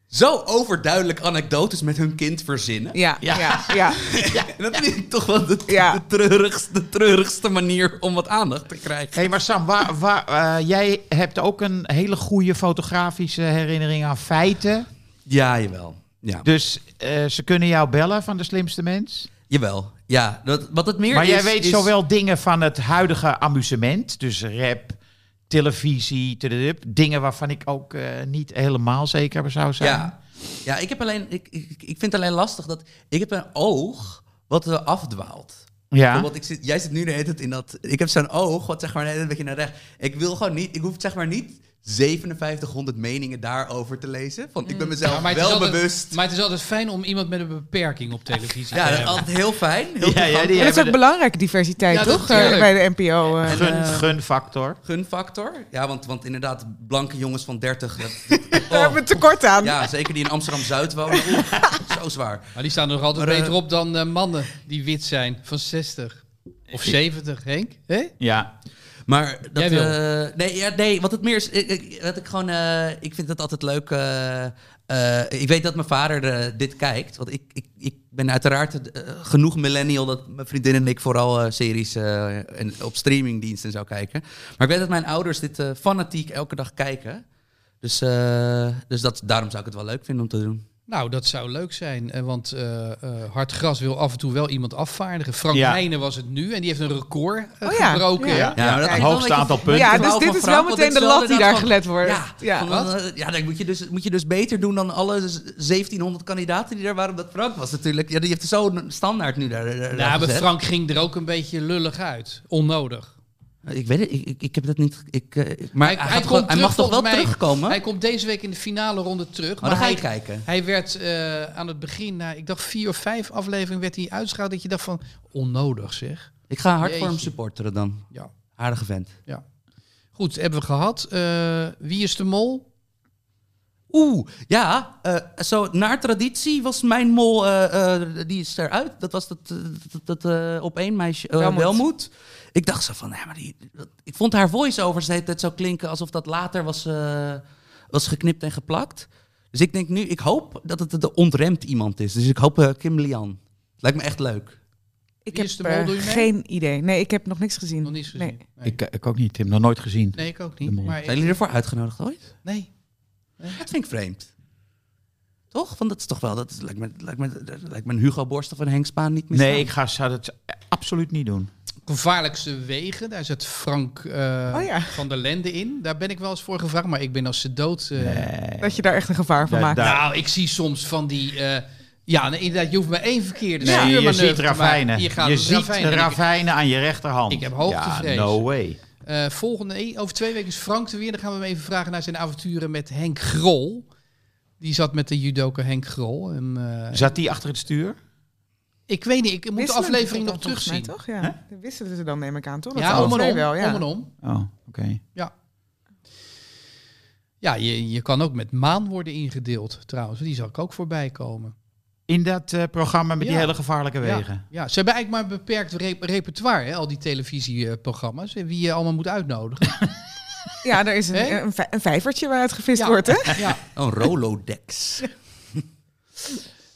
zo overduidelijk anekdotes met hun kind verzinnen.
Ja, ja,
Ja.
ja.
En dat vind ik toch wel de,
Ja.
de, treurigste, de treurigste manier om wat aandacht te krijgen.
Hé, hey, maar Sam, waar, waar, eh, jij hebt ook een hele goede fotografische herinnering aan feiten.
Ja, jawel. Ja.
Dus eh, ze kunnen jou bellen van de slimste mens.
Jawel. Ja, dat, wat het meer
Maar
is...
jij weet
is-
zowel dingen van het huidige amusement, dus rap, televisie, tududup, dingen waarvan ik ook eh, niet helemaal zeker zou zijn.
Ja, ja ik, heb alleen, ik, ik, ik vind het alleen lastig dat... Ik heb een oog wat eh, afdwaalt.
ja.
Bijvoorbeeld, ik zit, jij zit nu de hele tijd in dat... Ik heb zo'n oog, wat zeg maar de hele tijd een beetje naar rechts. Ik wil gewoon niet... Ik hoef zeg maar niet 5700 meningen daarover te lezen. Want ik ben mezelf
Mm. Ja, maar het
wel
is altijd-
bewust.
Maar het is altijd fijn om iemand met een beperking op televisie
ja,
te
dat is
hebben.
altijd heel fijn. Heel
Ja, ja,
toegankelijk.
die-
En dat is ook
de-
belangrijke diversiteit,
Ja, dat
toch? eh,
natuurlijk.
bij de NPO. eh.
Gun, gunfactor.
Gunfactor. Ja, want, want inderdaad, blanke jongens van 30... dat-
Daar hebben we tekort aan.
Oh.
Oh,
ja, zeker die in Amsterdam-Zuid wonen. Oeh, zo zwaar.
Maar die staan er nog altijd
Maar, eh,
beter op dan eh, mannen die wit zijn van 60 of 70, Henk. Hé?
Ja.
Maar dat,
Jij wil.
eh, nee, ja, nee, wat het meer is, ik, ik- dat ik gewoon, eh, ik vind dat altijd leuk. eh, eh, ik weet dat mijn vader eh, dit kijkt, want ik, ik, ik ben uiteraard eh, genoeg millennial dat mijn vriendin en ik vooral eh, series eh, en op streamingdiensten zou kijken. Maar ik weet dat mijn ouders dit eh, fanatiek elke dag kijken. Dus, eh, dus dat, daarom zou ik het wel leuk vinden om te doen.
Nou, dat zou leuk zijn, eh, want eh eh, Hard Gras wil af en toe wel iemand afvaardigen. Frank
Ja.
Heijnen was het nu en die heeft een record eh,
Oh ja,
gebroken.
ja.
hè?
Ja, maar dat
het
is wel
hoogste
een
aantal
beetje-
punten.
Ja,
Ik
dus
hou
dit
van
is wel
Frank, want
meteen
ik
de lat
zal
die
inderdaad
daar
van-
gelet wordt.
Ja,
Ja.
van, eh, ja dan moet je, dus, moet je dus beter doen dan alle 1700 kandidaten die daar waren. Omdat Frank was natuurlijk. Ja, die heeft zo'n standaard nu daar. eh, daar daar
Nou, maar
gezet.
Frank ging er ook een beetje lullig uit. Onnodig.
Ik weet het, ik, ik, ik heb dat niet. Ik, eh, maar hij,
hij
gaat
komt
gewoon- hij
terug,
mag toch wel
volgens mij.
terugkomen?
Hij komt deze week in de finale ronde terug.
maar dan ga
hij,
je kijken.
hij werd eh, aan het begin, na, ik dacht vier of vijf afleveringen, werd hij uitgeschouwd dat je dacht van, onnodig zeg.
Ik ga hard voor hem
Jeetje.
supporteren dan.
Ja.
Aardige vent.
Goed, hebben we gehad. Eh, wie is de mol?
Oeh, ja. eh, zo, naar traditie was mijn mol, eh, eh, die is eruit. Dat was dat, eh, dat, dat eh, op één meisje, eh,
Welmoed.
Welmoed. Ik dacht zo van, ja, maar die, dat- ik vond haar voice-overs de hele tijd zo klinken alsof dat later was, eh, was geknipt en geplakt. Dus ik denk nu, ik hoop dat het een ontremd iemand is. Dus ik hoop eh, Kim Lian. Lijkt me echt leuk.
Wie
Ik heb
is de mol,
eh,
doe je mee?
geen idee. Nee, ik heb nog niks gezien.
Nog niet gezien.
Nee.
Nee.
Ik, ik ook niet, Tim. Nog nooit gezien.
Nee, ik ook
De
niet.
mol.
Maar ik-
Zijn jullie ervoor uitgenodigd ooit?
nee.
Dat vind ik vreemd. Toch? Want dat is toch wel, dat is- lijkt me, lijkt me, dat lijkt me een Hugo Borst of een Henk Spaan niet meer
Nee, ik ga, zou dat absoluut niet doen.
Gevaarlijkste wegen, daar zit Frank eh,
Oh ja.
van der Lende in. Daar ben ik wel eens voor gevraagd, maar ik ben als ze dood... eh,
Dat je daar echt een gevaar van
Ja,
maakt.
daar-
Nou, ik zie soms van die... eh, ja, nee, inderdaad, je hoeft maar één verkeerde
Nee, je
stuurmanoeuvre te
ziet
maken.
ravijnen.
Je, gaat
Je
de
ziet
ravijnen. En ik-
ravijnen aan je rechterhand.
Ik heb hoogtevrees.
Ja, no way.
Eh, volgende, nee, over twee weken is Frank er weer. Dan gaan we hem even vragen naar zijn avonturen met Henk Grol. Die zat met de judoka Henk Grol. En, eh,
Zat die achter het stuur?
ik weet niet, ik moet de
Wisselen
aflevering
ze
nog
dan volgens mij,
terugzien.
Toch? Ja. Dat wisselen ze dan, neem ik aan, toch? Oh, Dat
Ja,
zijn
om en
twee
om,
wel, ja.
om en om.
Oh, oké.
Ja, ja je, je kan ook met maan worden ingedeeld trouwens. Die zal ik ook voorbij komen.
In dat eh, programma met die
Ja.
hele gevaarlijke
Ja,
wegen.
ja, ze hebben eigenlijk maar een beperkt rep- repertoire, hè, al die televisieprogramma's. en Wie je allemaal moet uitnodigen.
Ja, er is
Hè?
een, een, vij- een vijvertje waaruit gevist
Ja.
wordt, hè?
ja.
Een Rolodex.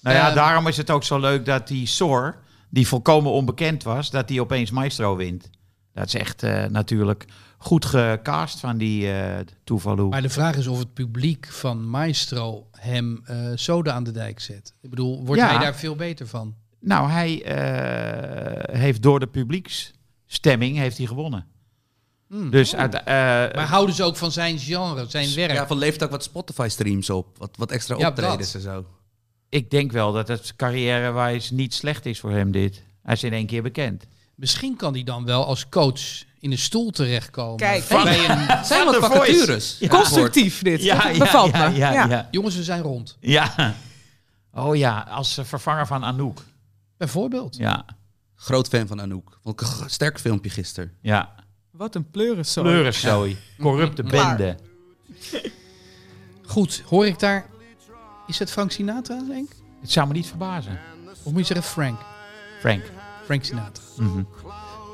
Nou ja,
Ehm.
daarom is het ook zo leuk dat die Sor, die volkomen onbekend was, dat die opeens Maestro wint. Dat is echt eh, natuurlijk goed gecast van die eh Tuvalu.
Maar de vraag is of het publiek van Maestro hem eh zoden aan de dijk zet. Ik bedoel, wordt
Ja.
hij daar veel beter van?
Nou, hij eh, heeft door de publieksstemming heeft hij gewonnen.
Hmm.
Dus uit, eh,
Maar houden ze ook van zijn genre, zijn werk?
Ja, van leeft ook wat Spotify-streams op. Wat, wat extra
Ja,
optredens
dat.
en zo.
ik denk wel dat het carrièrewijs niet slecht is voor hem dit. Hij is in één keer bekend.
Misschien kan hij dan wel als coach in een stoel terechtkomen.
Kijk.
Bij een...
Zijn wat
de
vacatures.
Constructief dit. dat bevalt me. Ja,
ja, ja.
Jongens, we zijn rond.
Ja. Oh ja, als eh, vervanger van Anouk.
Bijvoorbeeld.
Ja,
Groot fan van Anouk. Vond ik een g- sterk filmpje gisteren.
ja.
Wat een pleurenzooi.
Pleurenzooi. Corrupte
Klaar.
bende.
Goed, hoor ik daar... Is het Frank Sinatra, denk ik?
Het zou me niet verbazen,
Of moet je zeggen Frank?
Frank.
Frank Sinatra.
Mhm.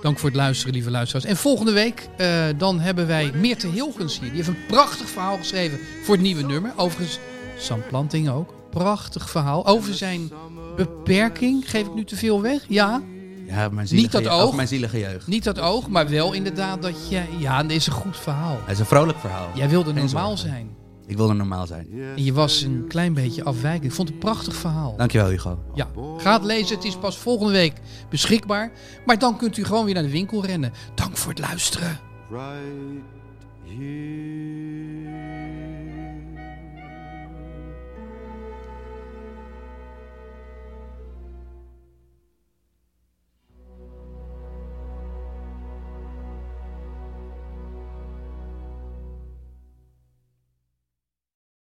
Dank voor het luisteren, lieve luisteraars. En volgende week eh, dan hebben wij Meerte Hilgens hier. Die heeft een prachtig verhaal geschreven voor het nieuwe nummer. Overigens, Sam Planting ook. Prachtig verhaal over zijn beperking. Geef ik nu te veel weg? Ja,
Ja, mijn zielige
Niet dat
je- of
oog.
Mijn zielige jeugd.
niet dat oog, maar wel inderdaad dat je... Ja, dit is een goed verhaal.
Hij is een vrolijk verhaal.
Jij wilde
Geen
normaal
zorgen.
zijn.
Ik wilde normaal zijn.
En je was een klein beetje afwijkend. Ik vond het een prachtig verhaal.
Dankjewel, Hugo.
Ja, ga het lezen. Het is pas volgende week beschikbaar. Maar dan kunt u gewoon weer naar de winkel rennen. Dank voor het luisteren.
Right here.